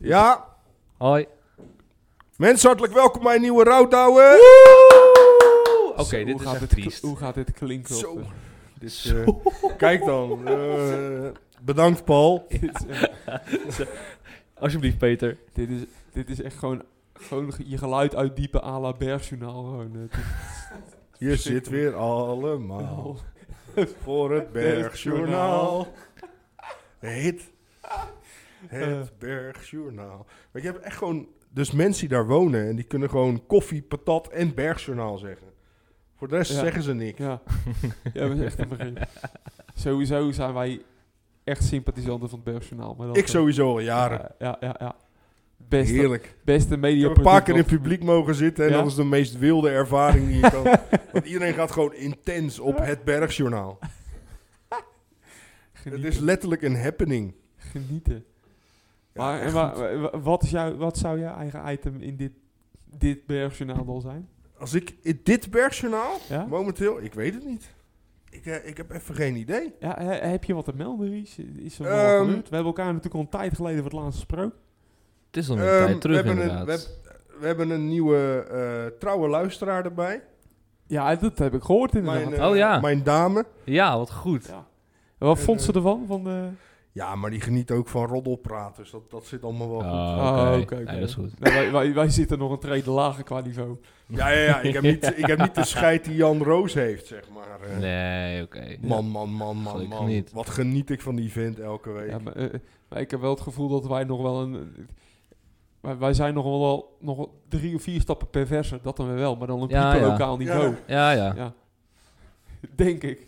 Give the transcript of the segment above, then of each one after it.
Ja, Hoi. mensen hartelijk welkom bij een nieuwe Roudouwen. Oké, Zo, dit hoe is gaat echt dit triest. Hoe gaat dit klinken? op, Zo. eh, Dit, eh, kijk dan. eh, bedankt Paul. dit, is, eh, Alsjeblieft, Peter. dit, is, dit is echt gewoon, gewoon ge- je geluid uitdiepen à la Bergjournaal. Gewoon, eh, dit Je zit weer allemaal voor het Bergjournaal. Het, het Bergjournaal. Maar je hebt echt gewoon... Dus mensen die daar wonen en die kunnen gewoon koffie, patat en Bergjournaal zeggen. Voor de rest Ja. zeggen ze niks. Ja, ja dat is echt een begin. Sowieso zijn wij echt sympathisanten van het Bergjournaal. Maar dat, Ik eh, sowieso al jaren. Ja, ja, ja. ja. Beste, Heerlijk. beste Ik media. heb een paar keer in het publiek mogen zitten en Ja? dat is de meest wilde ervaring die je kan. Want iedereen gaat gewoon intens op het Bergjournaal. Het Genieten. is letterlijk een happening. genieten. Ja, maar echt en wa- wa- wat, is jouw, wat zou jouw eigen item in dit, dit Bergjournaal dan zijn? Als ik in dit Bergjournaal, Ja? momenteel, ik weet het niet. Ik, eh, ik heb even geen idee. Ja, he- heb je wat te melden, Ries? Is er wat Ehm, gebeurd? We hebben elkaar natuurlijk al een tijd geleden voor het laatst gesproken. Het is al een Ehm, tijd terug, we hebben een- inderdaad. we We hebben een nieuwe eh, trouwe luisteraar erbij. Ja, dat heb ik gehoord inderdaad. Mijn, eh, Oh ja. mijn dame. Ja, wat goed. ja. En Wat vond ze ervan? Van de... Ja, maar die geniet ook van roddelpraat, dus dat, dat zit allemaal wel goed. Oh, Ah, oké. oké, oké. Nee, dat is goed. Nou, wij, wij, wij zitten nog een trede lager qua niveau. Ja, ja, ja. Ik heb niet, ik heb niet de scheid die Jan Roos heeft, zeg maar. eh. Nee, oké. Man, man, man, man, Gelukkig man. niet. Wat geniet ik van die vent elke week. Ja, maar, eh, maar ik heb wel het gevoel dat wij nog wel een... Wij, wij zijn nog wel nog wel drie of vier stappen perverser. Dat dan weer wel, maar dan op Ja, ja, ja. lokaal niveau. Ja, ja. Ja. Denk ik.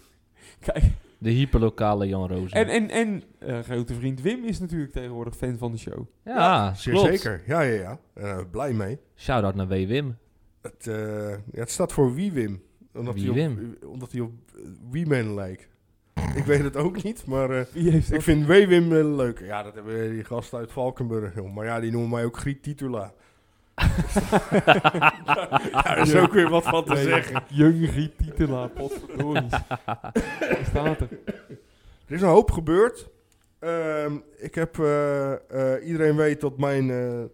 Kijk, De hyperlokale Jan Roos. en, en, en eh, grote vriend Wim is natuurlijk tegenwoordig fan van de show. ja, Zeer klopt. zeker. Ja, ja, ja. Eh, blij mee. Shout-out naar W. Wim. Het, eh, ja, het staat voor wie Wim. Omdat Wie hij op, Wim? eh, Omdat hij op eh, Wie Man lijkt. ik weet het ook niet, maar eh, Wie heeft ik dat? vind Wewim eh, leuk. Ja, dat hebben we die gast uit Valkenburg. Joh. Maar ja, die noemen mij ook Griet Titula. ja, daar is ook weer wat van te Nee, zeggen. Jung Riet Titela, potverdorie. Daar staat er. Er is een hoop gebeurd. Ehm, ik heb, eh, eh, iedereen weet dat mijn, eh, eh,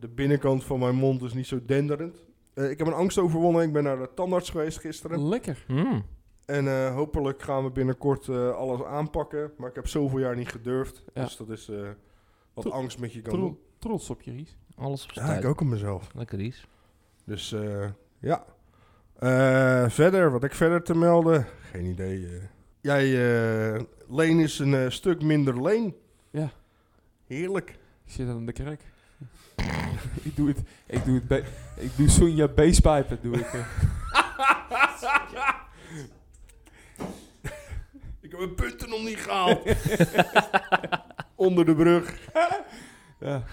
de binnenkant van mijn mond is niet zo denderend. Eh, ik heb een angst overwonnen. Ik ben naar de tandarts geweest gisteren. Lekker. Mm. En eh, hopelijk gaan we binnenkort eh, alles aanpakken. Maar ik heb zoveel jaar niet gedurfd. Ja. Dus dat is eh, wat Tro- angst met je kan Tro- doen. trots op je, Ries. Alles op zijn Ja, ik tijd. ook op mezelf. Lekker Ries. Dus eh, ja. Eh, verder, wat ik verder te melden? Geen idee. eh. Jij, eh, Leen is een eh, stuk minder Leen. Ja. Heerlijk. Ik zit aan de krek. ik doe het. Ik doe het. be- Ik doe Sonja Basepipe. Doe ik. eh. Ik heb mijn punten nog niet gehaald. Onder de brug. ja.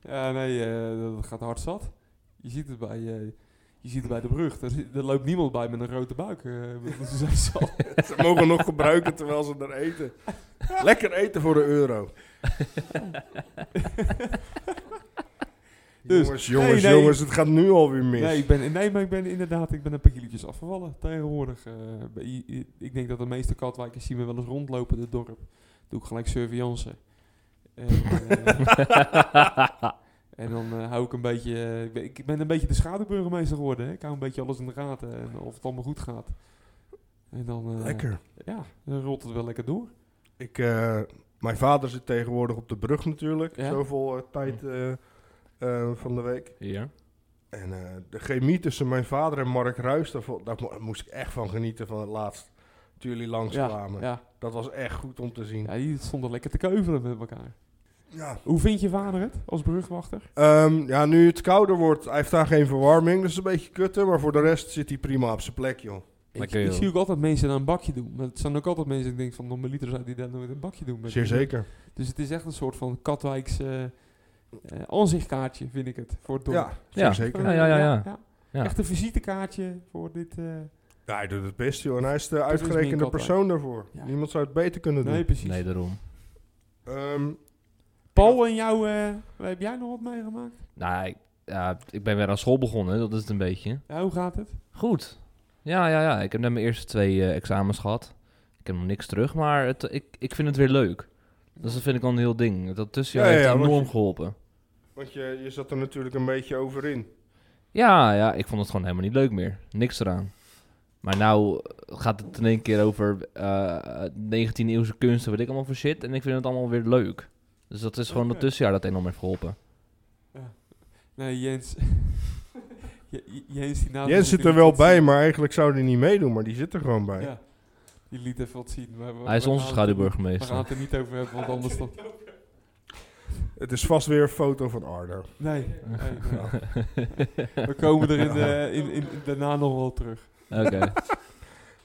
ja, nee, eh, dat gaat hard zat. Je ziet het bij, eh, je ziet het bij de brug. Er, zit- er loopt niemand bij met een grote buik. eh, want ze zijn zat. Ze mogen nog gebruiken terwijl ze er eten. Lekker eten voor de euro. Dus, jongens, jongens, nee, nee. jongens, het gaat nu alweer mis. Nee, ik ben, nee, maar ik ben inderdaad ik ben een paar kilootjes afgevallen tegenwoordig. eh, bij- i- i- ik denk dat de meeste katwijkers zien me wel eens rondlopen in het dorp. Doe ik gelijk surveillance. En, eh, en dan eh, hou ik een beetje... eh, ik, ben, ik ben een beetje de schaduwburgemeester geworden. Hè. Ik hou een beetje alles in de gaten en of het allemaal goed gaat. En dan, eh, Lekker. Ja, dan rolt het wel lekker door. Ik, eh, mijn vader zit tegenwoordig op de brug natuurlijk. Ja? Zoveel eh, tijd eh, eh, van de week. Ja. En eh, de chemie tussen mijn vader en Mark Ruijs, daar, vo- daar mo- moest ik echt van genieten van het laatst. Toen jullie Ja, langskwamen. ja. Dat was echt goed om te zien. ja, die stonden lekker te keuvelen met elkaar. Ja, Hoe vind je vader het als brugwachter? Ehm, ja, nu het kouder wordt, hij heeft daar geen verwarming, dus een beetje kutten. Maar voor de rest zit hij prima op zijn plek, joh. Ik, Lekker, ik joh. zie ook altijd mensen aan een bakje doen. Maar het zijn ook altijd mensen, ik denk van normaliter zou die dat nooit een bakje doen. Zeer zeker. Dus het is echt een soort van Katwijks eh eh, aanzichtkaartje, vind ik het, voor het dorp. Ja, zeer Ja. zeker. Van, Ja, ja, ja, ja. Ja. Echt een visitekaartje voor dit... eh, Ja, hij doet het best, joh. En hij is de is meer uitgerekende kat, persoon daarvoor. Ja. Niemand zou het beter kunnen doen. nee, precies. Nee, daarom. Ehm, Paul en jou, eh, heb jij nog wat meegemaakt? Nou, ik, ja, ik ben weer aan school begonnen. Dat is het een beetje. Ja, hoe gaat het? Goed. Ja, ja, ja. Ik heb net mijn eerste twee eh, examens gehad. Ik heb nog niks terug, maar het, ik, ik vind het weer leuk. Dus dat vind ik al een heel ding. Dat tussenjaar Ja, ja, heeft ja, want enorm je- geholpen. Want je, je zat er natuurlijk een beetje over in. Ja, ja, ik vond het gewoon helemaal niet leuk meer. Niks eraan. Maar nou gaat het in één keer over eh 19e-eeuwse kunsten, weet ik allemaal voor shit. En ik vind het allemaal weer leuk. Dus dat is gewoon Oké. het tussenjaar dat enorm heeft geholpen. Nee, Jens. Je- je- Jens, die naam Jens zit er wel bij, maar eigenlijk zou hij niet meedoen, maar die zit er gewoon bij. Ja. Die liet even wat zien. maar we- Hij is we onze gaan het er niet- We gaan schaduwburgemeester. het er niet over hebben, want anders dan... Het is vast weer een foto van Ardo. Nee. nee, nee. We komen er in de, in, in, in- daarna nog wel terug. Oké.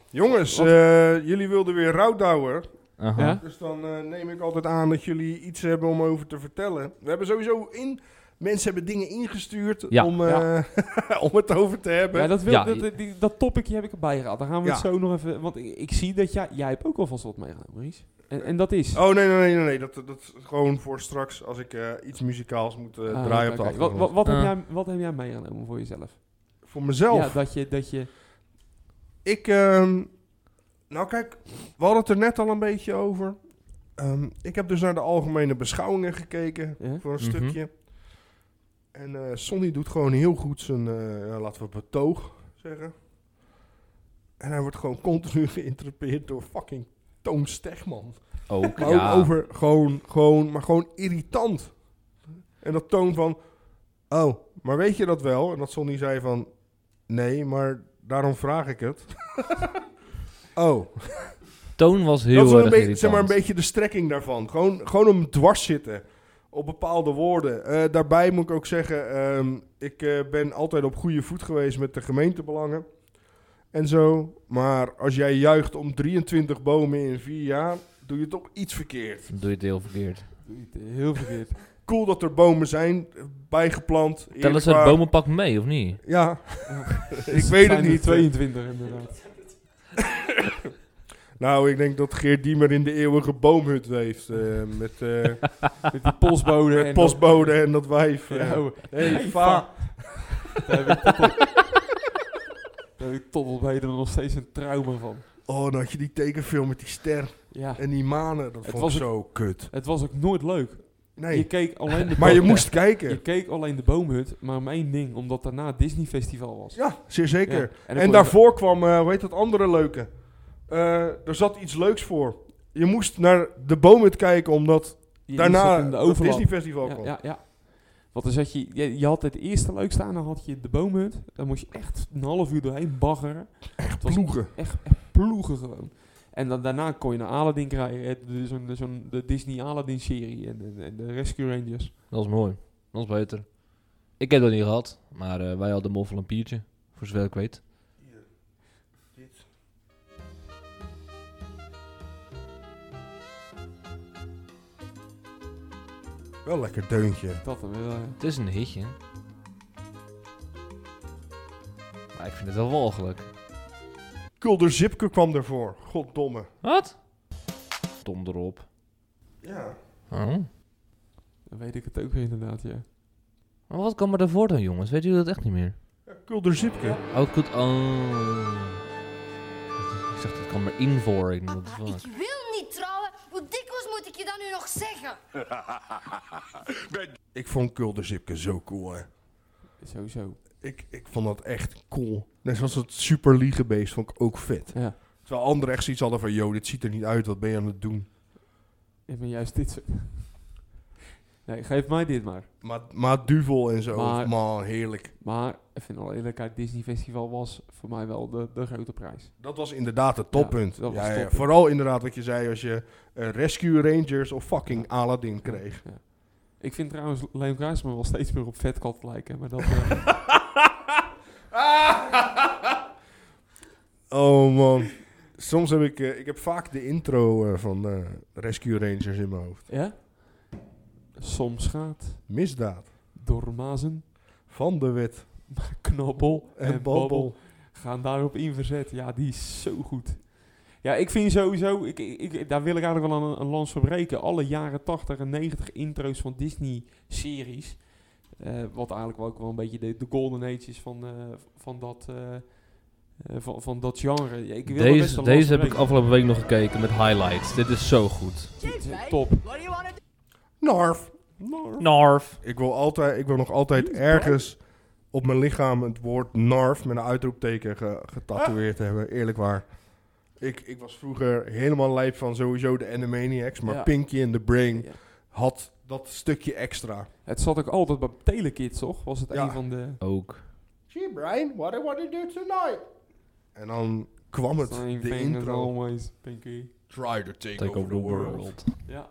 Jongens, Wat? eh, jullie wilden weer rouwdouwer. Aha. Ja? Dus dan eh, neem ik altijd aan dat jullie iets hebben om over te vertellen. We hebben sowieso in... Mensen hebben dingen ingestuurd Ja. om, eh, om het over te hebben. Ja, dat, wil, Ja, dat, je- dat, die- dat topicje heb ik erbij gehad. Dan gaan we het Ja. zo nog even... Want ik, ik zie dat jij... Jij hebt ook alvast wat meegenomen, Maurice. En, en dat is... Oh, nee, nee, nee, nee. nee. Dat, dat is gewoon voor straks als ik eh, iets muzikaals moet eh, Ah, draaien op oké, de oké. achtergrond. Wat, wat, wat heb Ah. jij, wat heb jij meegenomen voor jezelf? Voor mezelf. Ja, dat je... Dat je Ik, ehm, nou kijk, we hadden het er net al een beetje over. Ehm, ik heb dus naar de algemene beschouwingen gekeken Ja. voor een Mhm. stukje. En eh, Sonny doet gewoon heel goed zijn, eh, ja, laten we betoog zeggen. En hij wordt gewoon continu geïnterpreteerd door fucking Toon Stegman. Ook, Maar ja. ook over gewoon, gewoon, maar gewoon irritant. En dat toon van, oh, maar weet je dat wel? En dat Sonny zei van, nee, maar daarom vraag ik het. oh, Toon was heel dat is wel een erg beetje, zeg maar, een irritant. beetje de strekking daarvan. Gewoon, gewoon om dwars zitten op bepaalde woorden. Eh, daarbij moet ik ook zeggen, ehm, ik eh, ben altijd op goede voet geweest met de gemeentebelangen. En zo, maar als jij juicht om 23 bomen in vier jaar, doe je toch iets verkeerd. Dan doe je het heel verkeerd. doe je het eh, heel verkeerd. cool dat er bomen zijn eh, bijgeplant. Tellen Eerlijk ze het waar. bomenpak mee, of niet? Ja, ik Dus weet zijn het er niet. 22 inderdaad. Nou, ik denk dat Geert Diemer in de eeuwige boomhut leeft. eh, met, eh Met die postbode. met en postbode en dat wijf. dat- eh. Ja, oh. Hey, Hey, va. Daar heb ik tot op, daar heb ik tot op heden nog steeds een trauma van. Oh, dan had je die tekenfilm met die ster Ja, en die manen. Dat Het vond was ik een- zo kut. het was ook nooit leuk. Je Nee, keek alleen de maar je boom- moest Je kijken. keek alleen de boomhut, maar om één ding, omdat daarna het Disney Festival was. Ja, zeer zeker. Ja, En, dan kon je- daarvoor kwam, eh hoe heet dat andere leuke? Eh, er zat iets leuks voor. Je moest naar de boomhut kijken, omdat je zat daarna in de het overlap. Disney Festival kwam. Ja, ja, ja. Want dan zat je, je, je had het eerste leukste aan, dan had je de boomhut. Dan moest je echt een half uur doorheen baggeren. Echt Ploegen. Echt, echt ploegen gewoon. En dan, daarna kon je naar Aladdin krijgen, het- de- zo'n zo'n- de Disney Aladdin serie en, en, en de Rescue Rangers. Dat is mooi. Dat is beter. Ik heb dat niet gehad, maar eh, wij hadden moffel een piertje. Voor zover ik weet. Wel lekker deuntje. Dat dan eh, wel, ja. Het is een hitje. Maar ik vind het wel walgelijk. Kulder Zipke kwam daarvoor. Goddomme. Wat? Tom erop. Ja. Oh. Dan weet ik het ook weer inderdaad, ja. Maar wat kwam er daarvoor dan, jongens? Weet jullie dat echt niet meer? Kulder Zipke. Oh, goed. Oh. Ik zeg, dat kwam er in voor. Ik denk dat het Ah, Papa, was. ik wil niet trouwen. Hoe dikwijls moet ik je dat nu nog zeggen? Ik vond Kulder Zipke zo cool, hè. Sowieso. Ik, ik vond dat echt cool. Net zoals het Super League-beest vond ik ook vet. Ja. Terwijl anderen echt zoiets hadden van... Yo, dit ziet er niet uit. Wat ben je aan het doen? Ik ben juist dit soort... Nee, geef mij dit maar. Maar, maar Duvel en zo. Maar- Man, heerlijk. Maar, even in alle eerlijkheid, Disney Festival was voor mij wel de, de grote prijs. Dat was inderdaad het toppunt. dat was Ja, het ja, toppunt. Vooral inderdaad wat je zei als je eh, Rescue Rangers of fucking Aladdin kreeg. Ja. Ik vind trouwens Leon Kruisman wel steeds meer op Vetkat lijken, maar dat... eh, Oh man. Soms heb ik, eh, ik heb vaak de intro eh, van eh, Rescue Rangers in mijn hoofd. ja? Soms gaat Misdaad, Dormazen, van de wet Knabbel en, en babbel. Babbel gaan daarop in verzet. Ja, die is zo goed. Ja, ik vind sowieso, ik, ik, ik- daar wil ik eigenlijk wel een, een lans voor breken. Alle jaren 80 en 90 intro's van Disney-series. eh, wat eigenlijk wel ook wel een beetje de, de golden age is van, eh, van dat eh, eh, van, van dat genre. Ja, ik wil er best Deze, wel deze heb last ik van afgelopen week nog gekeken met highlights. Dit is zo goed. breken. Top. Narf. Narf. Ik wil, altijd, ik wil nog altijd ergens op mijn lichaam het woord narf met een uitroepteken ge- getatoeëerd hebben. Eerlijk waar. Ik, ik was vroeger helemaal lijp van sowieso de Animaniacs, maar Ja. Pinky in the Brain Ja. had dat stukje extra. Het zat ook altijd bij Telekids, toch? Was het Ja. een van de... Ook. Gee Brian, what I want to do tonight? En dan kwam het, Something de intro. Always, Pinky. Try to take, Take over the world. Ja.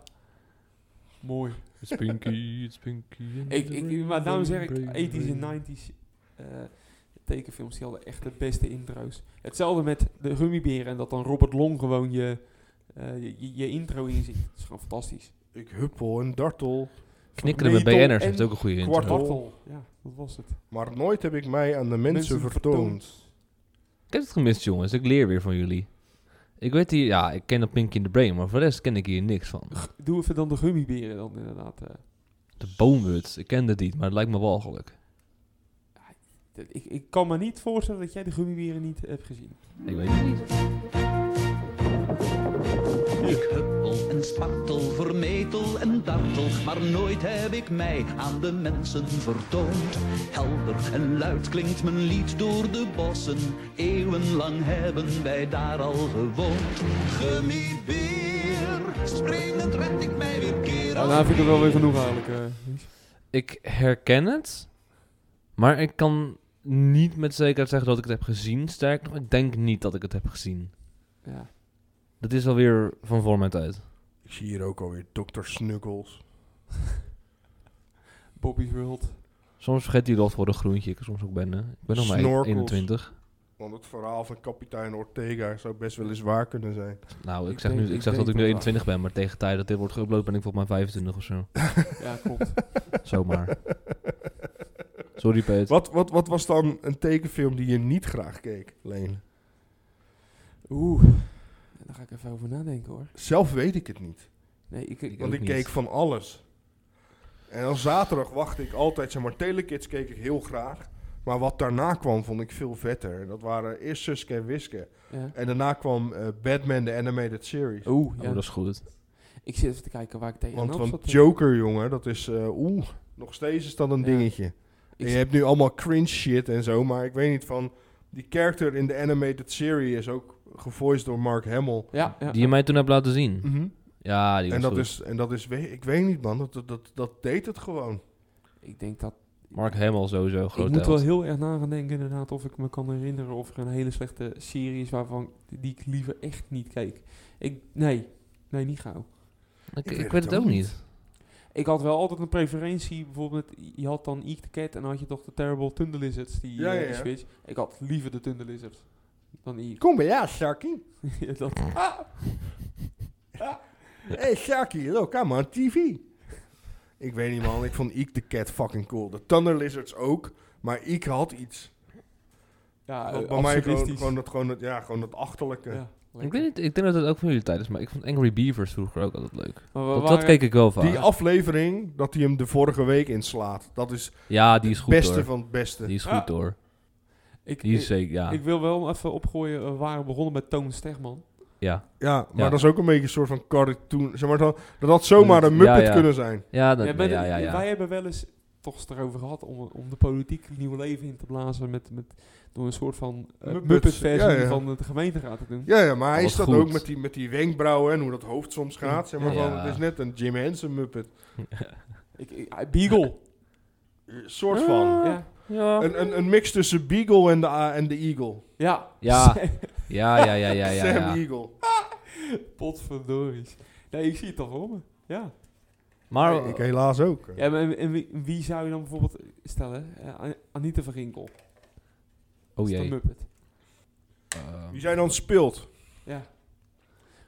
Mooi. It's Pinky, it's Pinky. Ik, ik, maar daarom zeg ik, 80s en 90s eh, tekenfilms, die hadden echt de beste intro's. Hetzelfde met de Gummiberen en dat dan Robert Long gewoon je, eh, je, je- je intro inziet. Dat is gewoon fantastisch. Ik huppel en dartel, Knikkeren met Metal BN'ers en heeft ook een goede kwart- intro. Dartel. Dartel. Ja, dat was het. maar nooit heb ik mij aan de mensen, vertoond. Ik heb het gemist, jongens. Ik leer weer van jullie. Ik weet hier, ja, ik ken dat Pinky in the Brain, maar voor de rest ken ik hier niks van. Doe even dan de Gummiberen dan inderdaad. eh. De boomwuts, ik kende die, maar het lijkt me walgelijk. De- ik, ik kan me niet voorstellen dat jij de Gummiberen niet hebt gezien. Ik weet het niet. Ik huppel en spartel, vermetel en dartel, maar nooit heb ik mij aan de mensen vertoond. Helder en luid klinkt mijn lied door de bossen, eeuwenlang hebben wij daar al gewoond. Gummibeer, springend red ik mij weer keer Nou, als daar vind ik het wel weer genoeg eigenlijk. eh. Ik herken het, maar ik kan niet met zekerheid zeggen dat ik het heb gezien. Sterk nog, ik denk niet dat ik het heb gezien. ja. Dat is alweer van voor mijn tijd. Ik zie hier ook alweer Dr. Snuggles. Bobby's World. Soms vergeet hij dat voor een groentje, ik er soms ook ben. hè. Ik ben nog maar Snorkels. 21. Want het verhaal van kapitein Ortega zou best wel eens waar kunnen zijn. Nou, ik Ik zeg, denk- nu, ik ik zeg dat denk ik nu dat- 21 ben, maar tegen de tijd dat dit wordt geüpload ben ik volgens mij 25 of zo. Ja, klopt. Zomaar. Sorry, Peet. Wat, wat, wat was dan een tekenfilm die je niet graag keek, Leen? Oeh. Daar ga ik even over nadenken hoor. Zelf weet ik het niet. Nee, ik, Ik Want ook ik niet. keek van alles. En dan zaterdag wachtte ik altijd, zeg maar, Telekids keek ik heel graag. Maar wat daarna kwam, vond ik veel vetter. En Dat waren eerst Suske en Wiske. ja. En daarna kwam eh, Batman, de animated series. Oeh, Oh, ja. dat is goed. Ik zit even te kijken waar ik tegenaan Want, want zat. Joker, jongen, dat is... eh, Oeh, nog steeds is dat een Ja. dingetje. Ik En je zie- hebt nu allemaal cringe shit en zo, maar ik weet niet van... Die character in de animated serie is ook gevoiced door Mark Hamill. ja, ja. Die je mij toen hebt laten zien. Mhm. Ja, die was En dat goed. is, en dat is, we- ik weet niet man, dat, dat, dat, dat deed het gewoon. ik denk dat... Mark Hamill sowieso, een Ik moet groot wel held. heel erg na gaan denken inderdaad of ik me kan herinneren of er een hele slechte serie is waarvan die ik liever echt niet keek. Ik, nee, nee, niet gauw. Ik, ik weet het ook niet. Ik had wel altijd een preferentie, bijvoorbeeld je had dan Eek the Cat en dan had je toch de Terrible Thunder Lizards, die, Ja, eh, ja, die ja. Switch. Ik had liever de Thunder Lizards dan Eek. Kom bij jou, Sharky. Ja, dat, Hey Sharky, look, I'm on TV. Ik weet niet man, ik vond Eek the Cat fucking cool. De Thunder Lizards ook, maar Eek had iets. ja, Wat bij mij eh, gewoon, absurdistisch. gewoon, dat, gewoon, dat, ja, gewoon dat achterlijke. Ja, Ik, weet niet. ik denk dat het ook van jullie tijd is, maar ik vond Angry Beavers vroeger ook altijd leuk. Maar we Dat, dat waren- keek ik wel vaak. Die aflevering, dat hij hem de vorige week inslaat. Dat is ja, die is het goed beste hoor. van het beste. Die is Ah. goed hoor. ik, Die is eh, ik, zeker, ja. ik wil wel even opgooien, eh, we waren begonnen met Toon Stegman. Ja, Ja, maar Ja. dat is ook een beetje een soort van cartoon. Zeg maar, dat, dat had zomaar Dat- een Muppet ja, ja. kunnen zijn. ja, dat, Ja, nee, maar ja, de- ja, ja. Wij hebben wel eens toch eens erover gehad om, om de politiek nieuw leven in te blazen met, met, door een soort van eh, Muppets. Muppet-versie Ja, ja. van de gemeenteraad te doen. Ja, ja maar hij Wat is dat goed. ook met die, met die wenkbrauwen en hoe dat hoofd soms gaat. Zeg maar Ja. van, het is net een Jim Henson Muppet. Ik, ik- ah, Beagle. Een soort van. ja. Ja, Een, een, een mix tussen Beagle en de, a- en de Eagle. Ja. Ja. ja, ja, ja, ja, ja. Sam ja. Eagle. Potverdories. Nee, ik zie het toch voor me. Ja. Maar ik helaas ook. ja maar en, en wie, wie zou je dan bijvoorbeeld stellen? Eh, An- Anita van Ginkel. Oh Dat is de jee. Muppet. Ehm, Wie zijn dan speelt? Ja.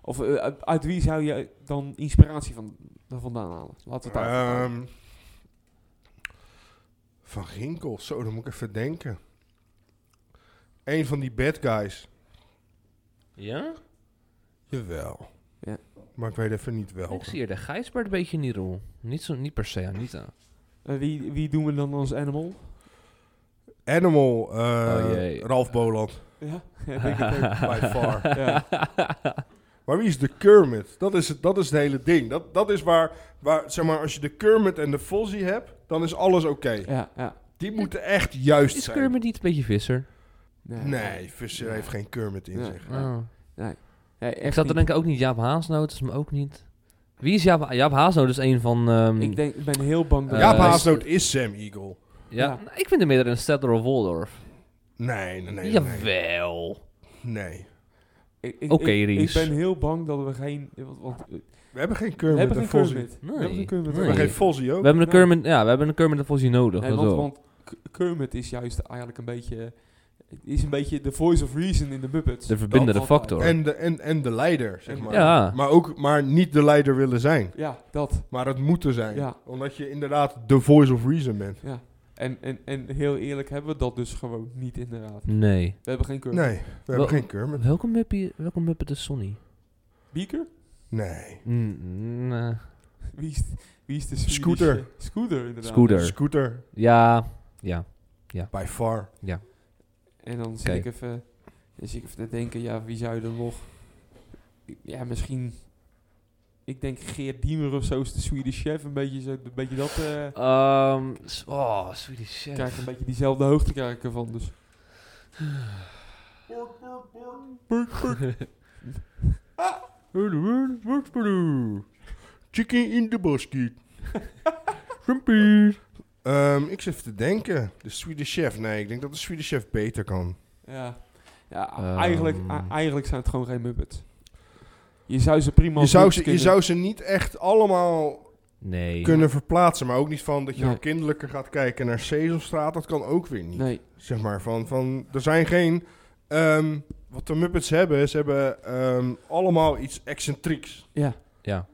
Of eh, uit, uit wie zou je dan inspiratie van, daar vandaan halen? Laten we het daar. Ehm, van Ginkel. Zo, dan moet ik even denken. Eén van die bad guys. Ja? Jawel. Ja. Maar ik weet even niet Ik welke. zie hier de Gijsbert een beetje in die rol. Niet, zo, niet per se Anita. Eh, wie, wie doen we dan als animal? Animal. eh, Oh jee. Ralf Boland. Ja, ja ik denk het ook. by far. Ja. Maar wie is de Kermit? Dat is het, dat is het hele ding. Dat, dat is waar, waar, zeg maar, als je de Kermit en de Fozzie hebt, dan is alles oké. Ja, ja. Die moeten echt juist Is zijn. Kermit niet een beetje visser? Nee, Visser heeft geen Kermit in Nee. zich. Ja. Oh. Nee, Ik zat echt te niet. denken ook niet Jaap Haasnoot, is me ook niet. Wie is Jaap, Jaap Haasnoot? is een van... ehm, Ik, denk, ik ben heel bang dat... Eh, Jaap is- Haasnoot is Sam Eagle. ja, ja. nou, ik vind hem eerder een Stedler of Waldorf. Nee, nee, nee. Nee. Jawel. nee. Ik- ik- Oké, ik- Ries. Ik ben heel bang dat we geen... Want, want, eh, We hebben geen we Kermit hebben en geen Fozzie. Kermit. Nee. We hebben geen Kermit. We Nee. hebben geen Fozzie We ook. hebben een Nee. Kermit, ja, we hebben een Kermit en Fozzie nodig. Nee, dat want, wel. want K- Kermit is juist eigenlijk een beetje... het Is een beetje de voice of reason in de Muppets. de verbindende Dat altijd. factor. En de, en, en de leider, zeg maar. Ja. Maar, ook, maar niet de leider willen zijn. Ja, dat. Maar het moeten zijn. Ja. Omdat je inderdaad de voice of reason bent. Ja. En, en, en heel eerlijk hebben we dat dus gewoon niet inderdaad. Nee. We hebben geen Kermit. Nee, we hebben geen Kermit. Welke Muppet, welke Muppet is Sonny? Beaker? Nee. Mm, nee. Wie is, wie is de Swedish- Scooter. Scooter, inderdaad. Scooter. Scooter, Ja, ja. by far. En dan zit, Oké. ik even, dan zit ik even te denken, ja, wie zou je dan nog... Ja, misschien... Ik denk Geert Diemer of zo is de Swedish Chef. Een beetje, zo, een beetje dat... eh Oh, Ehm, s- oh, Swedish Chef. krijg een beetje diezelfde hoogte krijg ik ervan, dus... Chicken in the basket. Grumpy. Ehm, ik zit even te denken. De Swedish Chef. Nee, ik denk dat de Swedish Chef beter kan. Ja, ja Ehm. eigenlijk, a- eigenlijk zijn het gewoon geen Muppets. Je zou ze prima... Je als zou, Muppets ze, je kunnen- zou ze niet echt allemaal Nee. kunnen verplaatsen. Maar ook niet van dat je Nee. dan kinderlijker gaat kijken naar Sesamstraat. Dat kan ook weer niet. Nee, Zeg maar van, van er zijn geen. ehm, wat de Muppets hebben, ze hebben ehm, allemaal iets excentrieks. ja. Ja.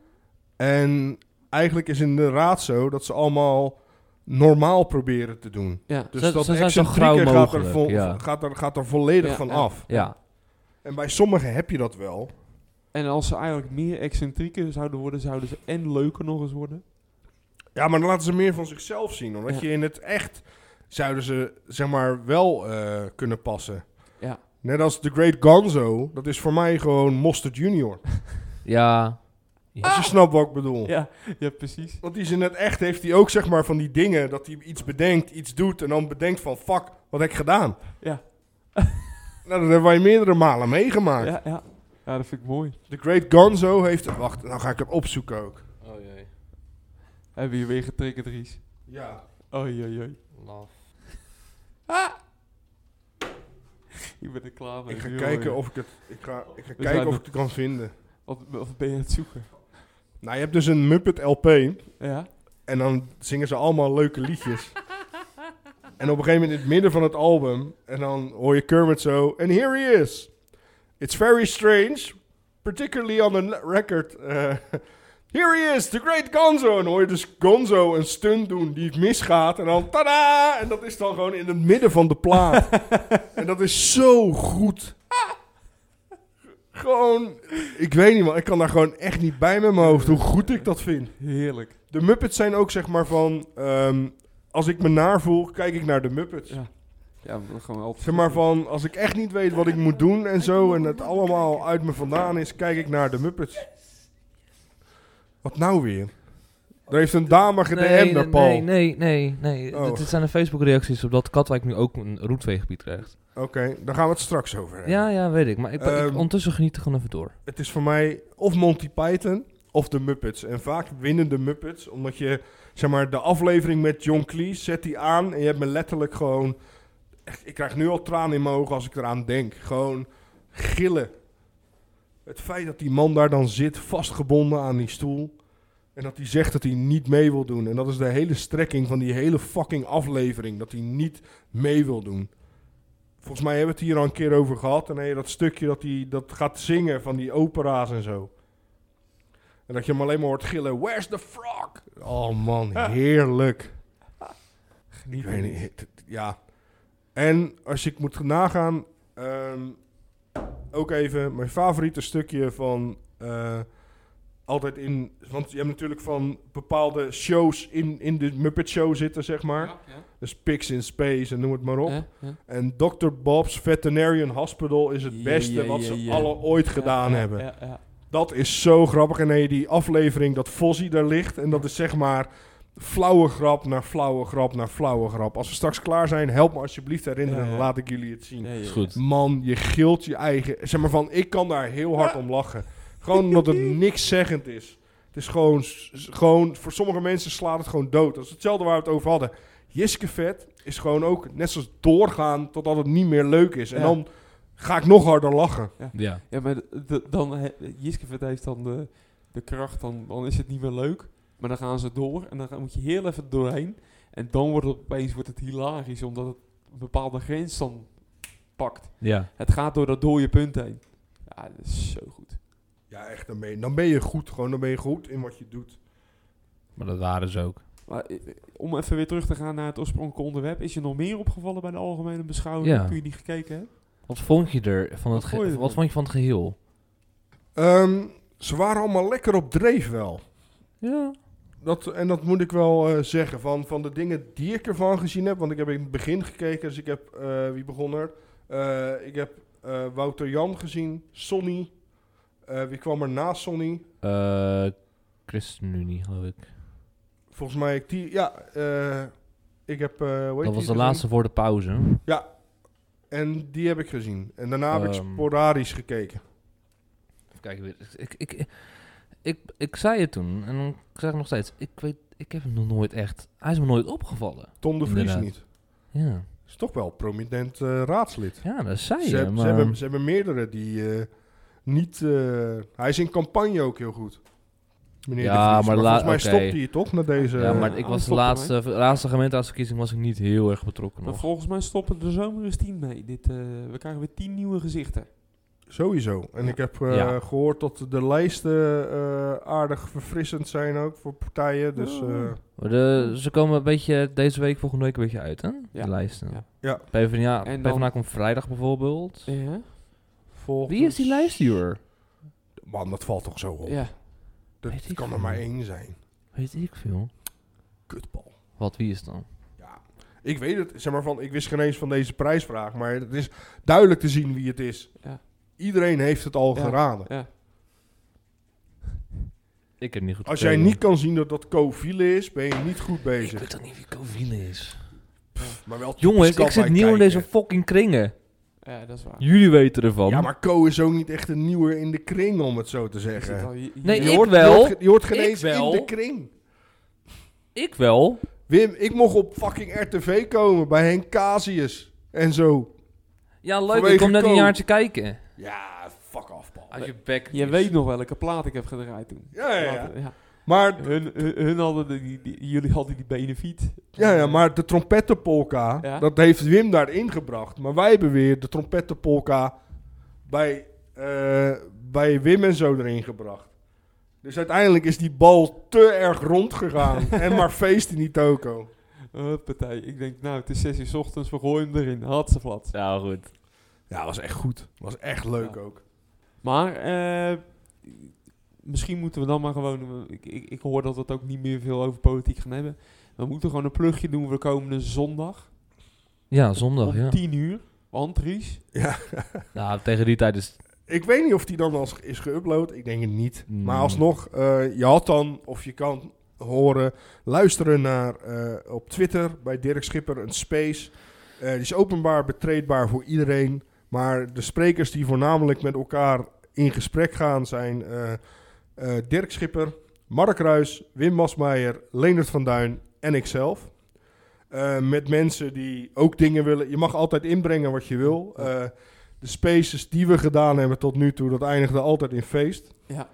En eigenlijk is inderdaad zo dat ze allemaal normaal proberen te doen. ja. Dus Ze- dat ze zijn zo excentrieke grauw gaat, er mogelijk, vol- ja. gaat, er, gaat er volledig Ja, van ja. af. Ja. En bij sommigen heb je dat wel. En als ze eigenlijk meer excentrieker zouden worden, zouden ze en leuker nog eens worden. Ja, maar dan laten ze meer van zichzelf zien. Omdat Ja. je in het echt zouden ze zeg maar wel eh, kunnen passen. Ja. Net als The Great Gonzo, dat is voor mij gewoon Mosterd Junior. Ja. Als je snapt wat ik bedoel. Ja, ja precies. Want die is in het echt, heeft hij ook zeg maar van die dingen, dat hij iets bedenkt, iets doet en dan bedenkt van, fuck, wat heb ik gedaan? Ja. Nou, dat hebben wij meerdere malen meegemaakt. Ja, ja. ja, dat vind ik mooi. The Great Gonzo heeft, wacht, nou ga ik het opzoeken ook. Oh jee. Hebben we hier weer getriggerd, Ries. Ja. Oei, oei, oei. Ah! Ik ben er klaar mee. Ik ga Joh, kijken joh. of ik het, ik ga, ik ga zijn kijken of nog- ik het kan vinden. Wat, wat ben je aan het zoeken? Nou, je hebt dus een Muppet LP Ja? en dan zingen ze allemaal leuke liedjes. en op een gegeven moment in het midden van het album, en dan hoor je Kermit zo, and here he is. It's very strange, particularly on the n- record. eh, here he is, the great Gonzo. En dan hoor je dus Gonzo een stunt doen die het misgaat, en dan tada! En dat is dan gewoon in het midden van de plaat. en dat is zo goed. Gewoon, ik weet niet man, ik kan daar gewoon echt niet bij met mijn hoofd hoe goed ik dat vind. Heerlijk. De Muppets zijn ook zeg maar van... ehm, als ik me naar voel, kijk ik naar de Muppets. Ja. Ja, maar gewoon altijd. Zeg maar van, als ik echt niet weet wat ik moet doen en zo... en het allemaal uit me vandaan is, kijk ik naar de Muppets. Wat nou weer? Er heeft een dame gedm Nee, naar nee, Paul. nee, nee, nee. nee. Oh. Dit, dit zijn de Facebook-reacties op dat Katwijk nu ook een roetveegebied krijgt. Oké, daar gaan we het straks over hebben. Ja, ja, weet ik. Maar ik, ik- Ehm. ondertussen geniet er gewoon even door. Het is voor mij of Monty Python of de Muppets. En vaak winnen de Muppets, omdat je... Zeg maar, de aflevering met John Cleese zet die aan... en je hebt me letterlijk gewoon... Echt, ik krijg nu al tranen in mijn ogen als ik eraan denk. Gewoon gillen. Het feit dat die man daar dan zit, vastgebonden aan die stoel... en dat hij zegt dat hij niet mee wil doen. En dat is de hele strekking van die hele fucking aflevering... dat hij niet mee wil doen. Volgens mij hebben we het hier al een keer over gehad... en dan heb je dat stukje dat hij dat gaat zingen van die opera's en zo... En dat je hem alleen maar hoort gillen, where's the frog? Oh man, heerlijk. Geniet. Ik weet niet, het- het- ja. En als ik moet nagaan, ehm, ook even mijn favoriete stukje van eh, altijd in... Want je hebt natuurlijk van bepaalde shows in, in de Muppet Show zitten, zeg maar. Ja, ja. Dus Pigs in Space en noem het maar op. Ja, ja. En Dr. Bob's Veterinarian Hospital is het Ja, beste ja, wat ja, ze ja. alle ooit Ja, gedaan ja, hebben. ja, ja. Dat is zo grappig. En nee, die aflevering dat Fozzie daar ligt. En dat is zeg maar flauwe grap naar flauwe grap naar flauwe grap. Als we straks klaar zijn, help me alsjeblieft herinneren. Ja, ja. En laat ik jullie het zien. Ja, ja, Is ja. goed. Man, je gilt je eigen... Zeg maar van, ik kan daar heel hard om lachen. Gewoon omdat het niks zeggend is. Het is gewoon, s- s- gewoon... Voor sommige mensen slaat het gewoon dood. Dat is hetzelfde waar we het over hadden. Jiske vet is gewoon ook net zoals doorgaan totdat het niet meer leuk is. En Ja. dan ga ik nog harder lachen. Ja. Ja, maar d- d- dan he- Jiskevet heeft dan de, de kracht, dan, dan is het niet meer leuk. Maar dan gaan ze door en dan ga- moet je heel even doorheen. En dan wordt het opeens wordt het hilarisch, omdat het een bepaalde grens dan pakt. Ja. Het gaat door dat dode punt heen. Ja, dat is zo goed. Ja, echt. Dan ben je, dan ben je goed. Gewoon, dan ben je goed in wat je doet. Maar dat waren ze ook. Maar eh, om even weer terug te gaan naar het oorspronkelijke onderwerp. Is je nog meer opgevallen bij de algemene beschouwing? Ja. Ja. Kun je die gekeken hebt? Wat vond je er van Wat het vond je ge- ervan? Wat vond je van het geheel? Ehm, ze waren allemaal lekker op dreef wel. Ja. Dat, en dat moet ik wel eh, zeggen. Van, van de dingen die ik ervan gezien heb. Want ik heb in het begin gekeken. Dus ik heb... eh, wie begon er? Eh, ik heb eh, Wouter Jan gezien. Sonny. Eh, wie kwam er na Sonny? Eh ChristenUnie, geloof ik. Volgens mij... Ik die, ja. eh, ik heb... eh, hoe heet die Dat was de gezien? laatste voor de pauze. En die heb ik gezien. En daarna heb ik Ehm. sporadisch gekeken. Kijk, weer. Ik, ik, ik, ik, ik zei het toen en dan zeg ik nog steeds. Ik weet, ik heb hem nog nooit echt. Hij is me nooit opgevallen. Tom de Vries Inderdaad. niet. Ja. Is toch wel prominent eh, raadslid. Ja, dat zei Ze, je. heb- ze maar, hebben, ze hebben meerdere die eh, niet... eh, hij is in campagne ook heel goed. Meneer Ja, de Vries. maar maar la- volgens mij oké. stopt hij het toch na deze... ja, maar eh, ik alles was de klopt, laatste, de laatste gemeenteraadsverkiezing was ik niet heel erg betrokken Maar nog. volgens mij stoppen er zomaar eens tien mee. Dit, eh, we krijgen weer tien nieuwe gezichten. Sowieso. En Ja. ik heb eh, Ja. gehoord dat de lijsten eh, aardig verfrissend zijn ook voor partijen. Dus Oh. eh, Maar de, ze komen een beetje deze week, volgende week een beetje uit, hè? Ja. De lijsten. Ja. Ja. PvdA, En dan- PvdA komt vrijdag bijvoorbeeld. Ja? volgens... Wie is die lijstduur? Man, dat valt toch zo op. Ja. Dat Weet ik kan er veel. maar één zijn. Weet ik veel. Kutbal. Wat, wie is het dan? Ja. Ik weet het, zeg maar van, ik wist geen eens van deze prijsvraag, maar het is duidelijk te zien wie het is. Ja. Iedereen heeft het al Ja. geraden. ja. Ik heb niet goed Als jij niet kan zien dat dat Coville is, ben je niet goed Ik bezig. weet toch niet wie Coville is. maar wel typisch Jongens, ik Katwijk zit nieuw in kijken. deze fucking kringen. ja, dat is waar. Jullie weten ervan. Ja, maar Co is ook niet echt een nieuwer in de kring, om het zo te Je zit zeggen. al hier- hier- Nee, Je ik hoort, wel. Je hoort, ge- je hoort geen Ik eens wel. in de kring. Ik wel. Wim, ik mocht op fucking RTV komen bij Henk Casius en zo. Ja, leuk, Vanwege ik kom net Co. een jaartje kijken. Ja, fuck af, Paul. Als je bek... Je weet nog welke plaat ik heb gedraaid toen. Ja, ja, ja. Platen, ja. Maar, Hun, hun, hun hadden de- die, die- jullie hadden die benefiet. ja, ja, maar de trompettenpolka, Ja? dat heeft Wim daarin gebracht. Maar wij hebben weer de trompettenpolka bij, eh, bij Wim en zo erin gebracht. Dus uiteindelijk is die bal te erg rondgegaan. en maar feest in die toko. Huppatee. Ik denk, nou, het is 6 uur 's ochtends, we gooien hem erin. Hatseflat. Nou, goed. Ja, was echt goed. Was echt leuk Ja. ook. Maar, eh, misschien moeten we dan maar gewoon... Ik, ik, ik hoor dat we het ook niet meer veel over politiek gaan hebben. We moeten gewoon een plugje doen voor komende zondag. Ja, zondag, om ja. 10 uur. Want, Ries, Nou, tegen die tijd is... Ik weet niet of die dan als is geüpload. Ik denk het niet. Hmm. Maar alsnog, eh, je had dan, of je kan horen, luisteren naar eh, op Twitter bij Dirk Schipper een space. Eh, die is openbaar betreedbaar voor iedereen. Maar de sprekers die voornamelijk met elkaar in gesprek gaan zijn eh, eh, Dirk Schipper, Mark Ruis, Wim Masmeijer, Leonard van Duin en ikzelf. Eh, met mensen die ook dingen willen. Je mag altijd inbrengen wat je wil. Eh, de spaces die we gedaan hebben tot nu toe, dat eindigde altijd in feest. Ja.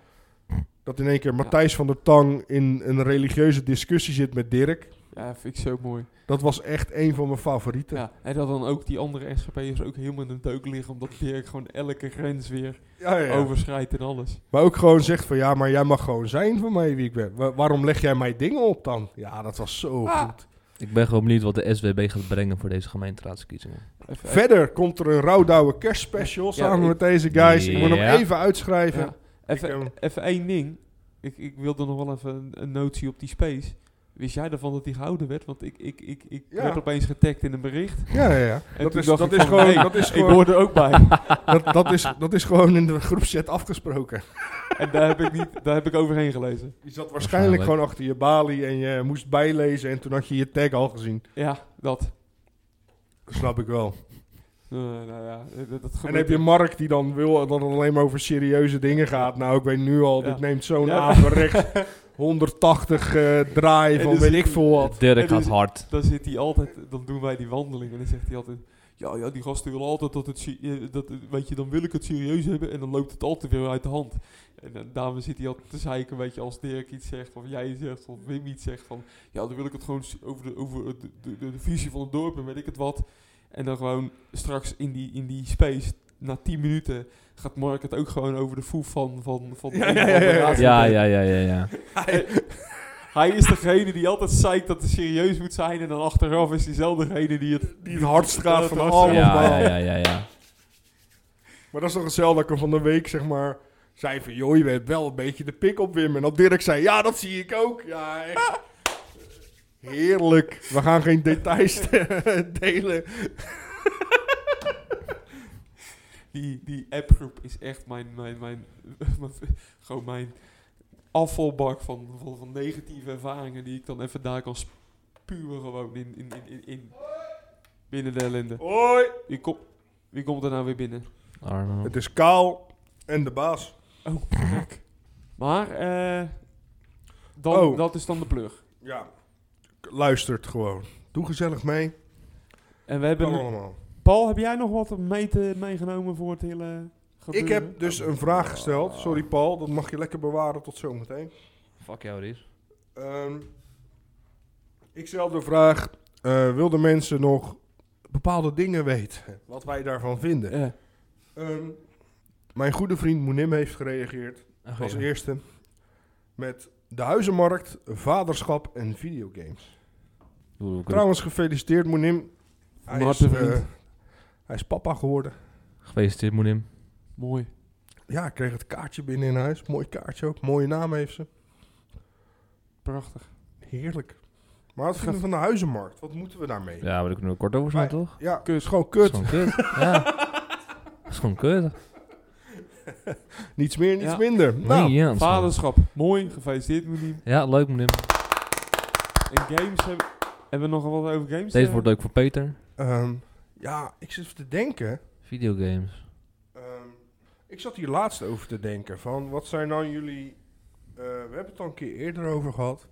Dat in één keer Matthijs van der Tang in een religieuze discussie zit met Dirk. ja, vind ik zo mooi. Dat was echt een van mijn favorieten. Ja, Ja, en dat dan ook die andere SGP'ers ook helemaal in de deuk liggen. Omdat Dirk gewoon elke grens weer ja, ja. overschrijdt en alles. Maar ook gewoon zegt van ja, maar jij mag gewoon zijn van mij wie ik ben. Wa- waarom leg jij mij dingen op dan? Ja, dat was zo Ah. goed. Ik ben gewoon benieuwd wat de SWB gaat brengen voor deze gemeenteraadsverkiezingen. Even- Verder komt er een rouwdouwe kerstspecial Ja, samen ik- met deze guys. Ik moet hem Ja. even uitschrijven. Ja. Even, Ik, ehm, even één ding. ik, ik wilde nog wel even een, een notie op die space. Wist jij ervan dat die gehouden werd? Want ik, ik, ik, ik Ja. werd opeens getagd in een bericht. Ja, ja, ja. En Dat toen is, dacht dat, ik is van, gewoon, hey, dat, is Ik gewoon, hoor er ook bij. dat, dat, is, dat is gewoon in de groepset afgesproken. en daar heb, ik niet, daar heb ik overheen gelezen. Je zat waarschijnlijk Waarschijnlijk. gewoon achter je balie en je moest bijlezen en toen had je je tag al gezien. Ja, dat. Dat snap ik wel. Eh, nou ja, eh, dat, dat En gebeurt heb je Mark die dan wil dat het alleen maar over serieuze dingen gaat. Nou, ik weet nu al, Ja. dit neemt zo'n Ja. averechts 180 eh draai En van dus- weet ik veel wat. Dirk En die- gaat hard. Dan zit hij altijd, dan doen wij die wandeling en dan zegt hij altijd, ja, ja, die gasten willen altijd dat het, se- eh, dat, het- weet je, dan wil ik het serieus hebben en dan loopt het altijd weer uit de hand. En dan, daarom zit hij altijd te zeiken, weet je, als Dirk iets zegt of jij iets zegt of Wim iets zegt van, ja, dan wil ik het gewoon s- over de, over de, de, de- de visie van het dorp en weet ik het wat. En dan gewoon straks in die, in die space, na 10 minuten, gaat Mark het ook gewoon over de foef van, van, van de Ja, een ja, of andere ja, ja. raadsel. Ja, ja, ja, ja, ja. Hij is degene die altijd zeikt dat het serieus moet zijn. En dan achteraf is diezelfde degene die het... Die het hardst gaat van Ja, allemaal. Ja, ja, ja, ja, ja. Maar dat is toch hetzelfde dat ik er van de week, zeg maar, zei van... joh, je bent wel een beetje de pik op Wim. En dat Dirk zei, ja, dat zie ik ook. Ja, echt. Heerlijk. We gaan geen details delen. Die, die appgroep is echt mijn... mijn, mijn, mijn- gewoon mijn afvalbak van, van, van negatieve ervaringen... die ik dan even daar kan spuwen gewoon in... in, in, in, in- binnen de ellende. Hoi. Wie, kom- wie komt er nou weer binnen? Arno. Het is Kaal en de baas. Oh, kijk. Maar... eh, dan, Oh. dat is dan de plug. Ja. Luistert gewoon. Doe gezellig mee. En we hebben... Kan allemaal. Paul, heb jij nog wat mee te, meegenomen voor het hele Ik gebeuren? heb dus een vraag Ah. gesteld. Sorry Paul, dat mag je lekker bewaren tot zometeen. Fuck jou, Ries. Ehm ik stel de vraag, eh wilden mensen nog bepaalde dingen weten? Wat wij daarvan vinden? Ja. Ehm, mijn goede vriend Moenim heeft gereageerd Oh, als ja. eerste met de huizenmarkt, vaderschap en videogames. Trouwens gefeliciteerd Moenim. Hij Van is, harte eh, vriend. hij is papa geworden. Gefeliciteerd, Moenim. Mooi. Ja, ik kreeg het kaartje binnen in huis. Mooi kaartje ook. Mooie naam heeft ze. Prachtig. Heerlijk. Maar wat vinden we van de huizenmarkt? Wat moeten we daarmee? Ja, Ja, maar daar kunnen we kort over zijn, Maar- toch? het is gewoon kut. Dat is gewoon kut. Ja. Dat is gewoon kut. Niets meer, niets Ja. minder. Nou, Nee, ja, dat is gewoon- Vaderschap. Mooi. Gefeliciteerd, Moedim. Ja, leuk, Moenim. En games hebben... Hebben we nog wat over games? Deze eh? wordt leuk voor Peter. ehm, ja, ik zit even te denken. Videogames. Ehm, ik zat hier laatst over te denken. Van wat zijn dan jullie. eh, we hebben het al een keer eerder over gehad.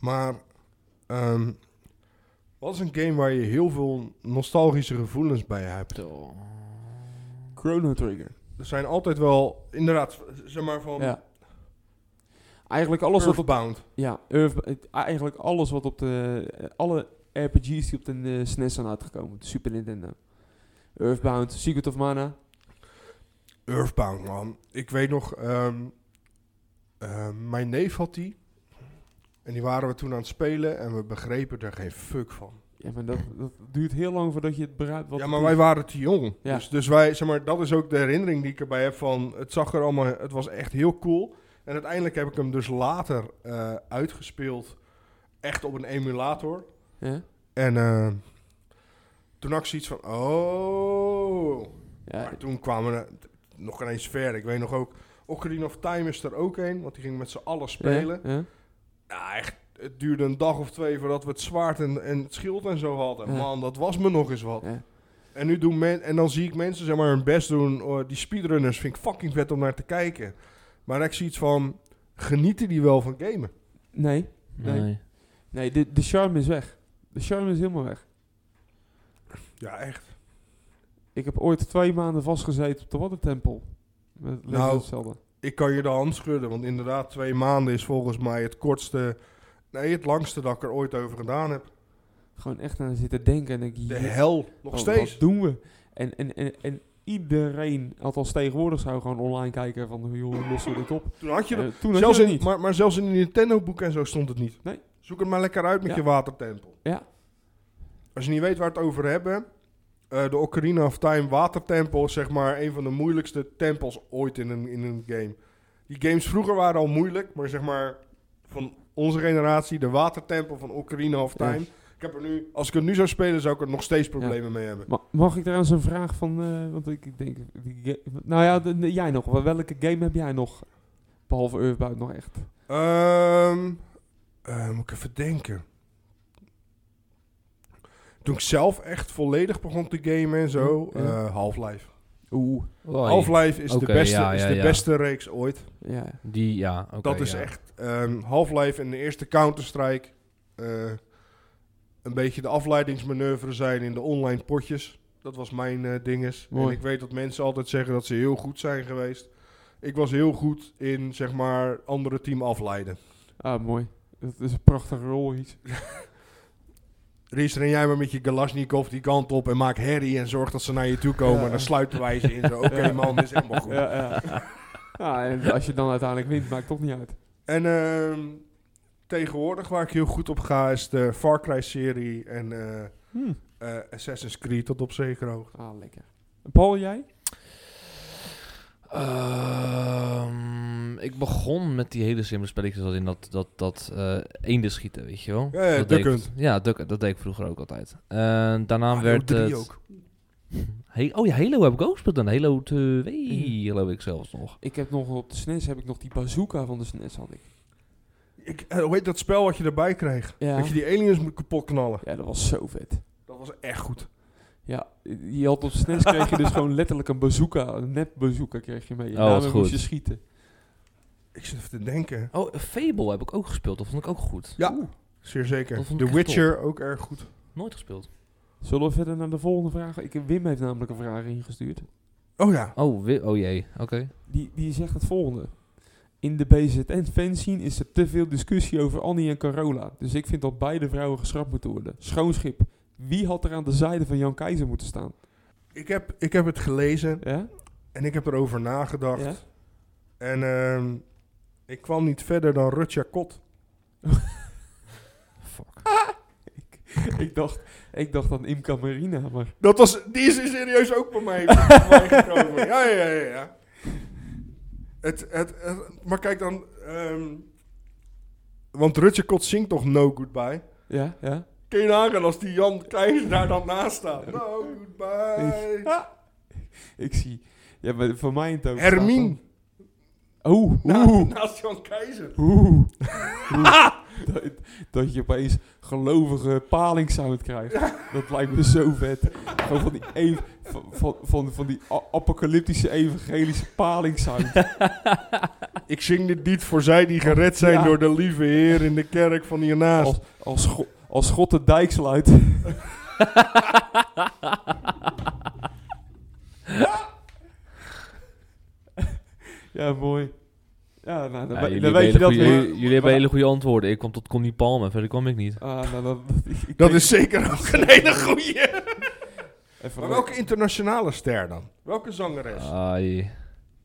Maar. ehm, wat is een game waar je heel veel nostalgische gevoelens bij hebt? Chrono Trigger. Er zijn altijd wel. Inderdaad, zeg maar van. Ja. Eigenlijk alles wat op... Earthbound. Ja, Earth- het- eigenlijk alles wat op de... eh, Alle RPG's die op de eh, SNES zijn uitgekomen. De Super Nintendo. Earthbound, Secret of Mana. Earthbound, man. Ik weet nog, ehm, ehm, mijn neef had die. En die waren we toen aan het spelen en we begrepen er geen fuck van. Ja, maar dat, dat duurt heel lang voordat je het begrijpt. Wat ja, het maar is. wij waren te jong. Ja. Dus, dus wij, zeg maar, dat is ook de herinnering die ik erbij heb van... Het zag er allemaal... Het was echt heel cool. En uiteindelijk heb ik hem dus later eh, uitgespeeld. Echt op een emulator. Ja? En eh, toen had ik zoiets van... Oh... Ja, Maar toen kwamen we t- nog ineens ver. Ik weet nog ook, Ocarina of Time is er ook een, want die ging met z'n allen spelen. Ja, ja. Ja, echt, het duurde een dag of twee voordat we het zwaard en, en het schild en zo hadden. Ja. Man, dat was me nog eens wat. Ja. En, nu doen men, en dan zie ik mensen zeg maar, hun best doen. oh, die speedrunners vind ik fucking vet om naar te kijken. Maar ik zie iets van, genieten die wel van gamen? Nee. Nee. Nee. Nee, de, de charme is weg. De charme is helemaal weg. Ja, echt. Ik heb ooit twee maanden vastgezeten op de Waddentempel. Met Legend Nou. of Zelda. Ik kan je de hand schudden, want inderdaad twee maanden is volgens mij het kortste... Nee, het langste dat ik er ooit over gedaan heb. Gewoon echt aan zitten denken. En denk, De "Jezus, hel, nog wat- steeds. Wat doen we? En, en, en, en iedereen, althans tegenwoordig, zou gewoon online kijken van, joh, hoe lossen we dit op? Toen had je dat Eh, toen had zelfs je dat in, niet. Maar, maar zelfs in de Nintendo-boek en zo stond het niet. Nee. Zoek het maar lekker uit met Ja. je watertempel. Ja. Als je niet weet waar we het over hebben... eh, de Ocarina of Time watertempel is zeg maar een van de moeilijkste tempels ooit in een, in een game. Die games vroeger waren al moeilijk, maar zeg maar van onze generatie, de watertempel van Ocarina of Ja. Time. Ik heb er nu, als ik het nu zou spelen, zou ik er nog steeds problemen mee hebben. Ma- mag ik trouwens een vraag van... eh, want ik ik denk... die ga- nou ja, de- de- jij nog. Wel- Welke game heb jij nog? Behalve Earthbound nog echt. Ehm eh, moet ik even denken. Toen ik zelf echt volledig begon te gamen en zo, Ja. eh, Half-Life. Oeh. Hm, Hoi. Half-Life is, de, Oké, beste, ja, is ja, de ja. beste reeks ooit. Ja. Die, ja. oké, dat is ja. echt ehm, Half-Life en de eerste Counter-Strike. eh, een beetje de afleidingsmanoeuvre zijn in de online potjes. Dat was mijn eh dinges. En Mooi. ik weet dat mensen altijd zeggen dat ze heel goed zijn geweest. Ik was heel goed in, zeg maar, andere team afleiden. Ah, mooi. Dat is een prachtige rol iets. Ries, ren jij maar met je Galashnikov die kant op en maak herrie en zorg dat ze naar je toe komen. Ja. En dan sluiten wij ze in. Zo, Oké Ja. man, dit is helemaal goed. Ja, ja. ja, en als je dan uiteindelijk wint, maakt toch niet uit. En ehm, tegenwoordig waar ik heel goed op ga is de Far Cry-serie en... eh, Hmm. eh, Assassin's Creed tot op zekere hoogte. Ah, lekker. Paul, jij? Ehm, ik begon met die hele simpele spelletjes als in dat, dat, dat eh eenden schieten, weet je wel. Ja, ja, dat deed ik- Duck Hunt. Ja, Duck Hunt, dat deed ik vroeger ook altijd. En daarna Halo werd 3 het... Ah, ook. He- oh ja, Halo heb ik ook gespeeld. En Halo 2 Mhm. geloof ik zelfs nog. Ik heb nog op de SNES heb ik nog die bazooka van de SNES had ik. Ik, eh, hoe heet dat spel wat je erbij kreeg? Ja. Dat je die aliens moet kapot knallen. Ja, dat was zo vet. Dat was echt goed. Ja, je had op SNES kreeg je dus gewoon letterlijk een bazooka, een nep bazooka kreeg je mee. En Oh, wat daarmee moest goed. je schieten. Ik zit even te denken. Oh, Fable heb ik ook gespeeld. Dat vond ik ook goed. Ja, Oeh. zeer Dat zeker. vond ik The echt Witcher ook erg goed. Nooit gespeeld. Zullen we verder naar de volgende vraag? Ik, Wim heeft namelijk een vraag ingestuurd. Oh ja. Oh, wi- oh jee. Oké. Die, die zegt het volgende. In de BZN-fanscene is er te veel discussie over Annie en Carola. Dus ik vind dat beide vrouwen geschrapt moeten worden. Schoon schip. Wie had er aan de zijde van Jan Keizer moeten staan? Ik heb, ik heb het gelezen Ja? en ik heb erover nagedacht. Ja? En ehm, ik kwam niet verder dan Rutja Kot. Fuck. Ik, ik, dacht, ik dacht aan Imca Marina, maar... Dat was, die is serieus ook bij mij, bij mij gekomen. Ja, ja, ja. ja. Het, het, het- maar kijk dan... ehm, want Rutja Kot zingt toch No Goodbye? Ja, ja. Kun je nagaan als die Jan Keizer daar dan naast staat? No goodbye. Ah. Ik zie... Ja, maar voor mij in het oog staat Hermine. Nou. dan- Oeh, Na- oeh, naast Jan Keizer. oeh. Oeh. dat, dat je opeens gelovige palingsound krijgt. Dat lijkt me zo vet. Gewoon van die, ev- van, van, van, van die a- apocalyptische evangelische palingsound. Ik zing dit niet voor zij die gered zijn Ja. Oh. door de lieve Heer in de kerk van hiernaast. Als, als, Go- als God de dijk sluit. ja, mooi. Ja, nou, dan, Ja, we- jullie hebben dan weet hele je dat goeie- weer. jullie hebben hele goede antwoorden. Ik kwam tot Connie Palmer. Verder kwam ik niet. Ah, nou, dan- dat, ik- Dat ik denk- is zeker ook een hele goeie. Even Maar leuk. welke internationale ster dan? Welke zangeres? Ah. Ai.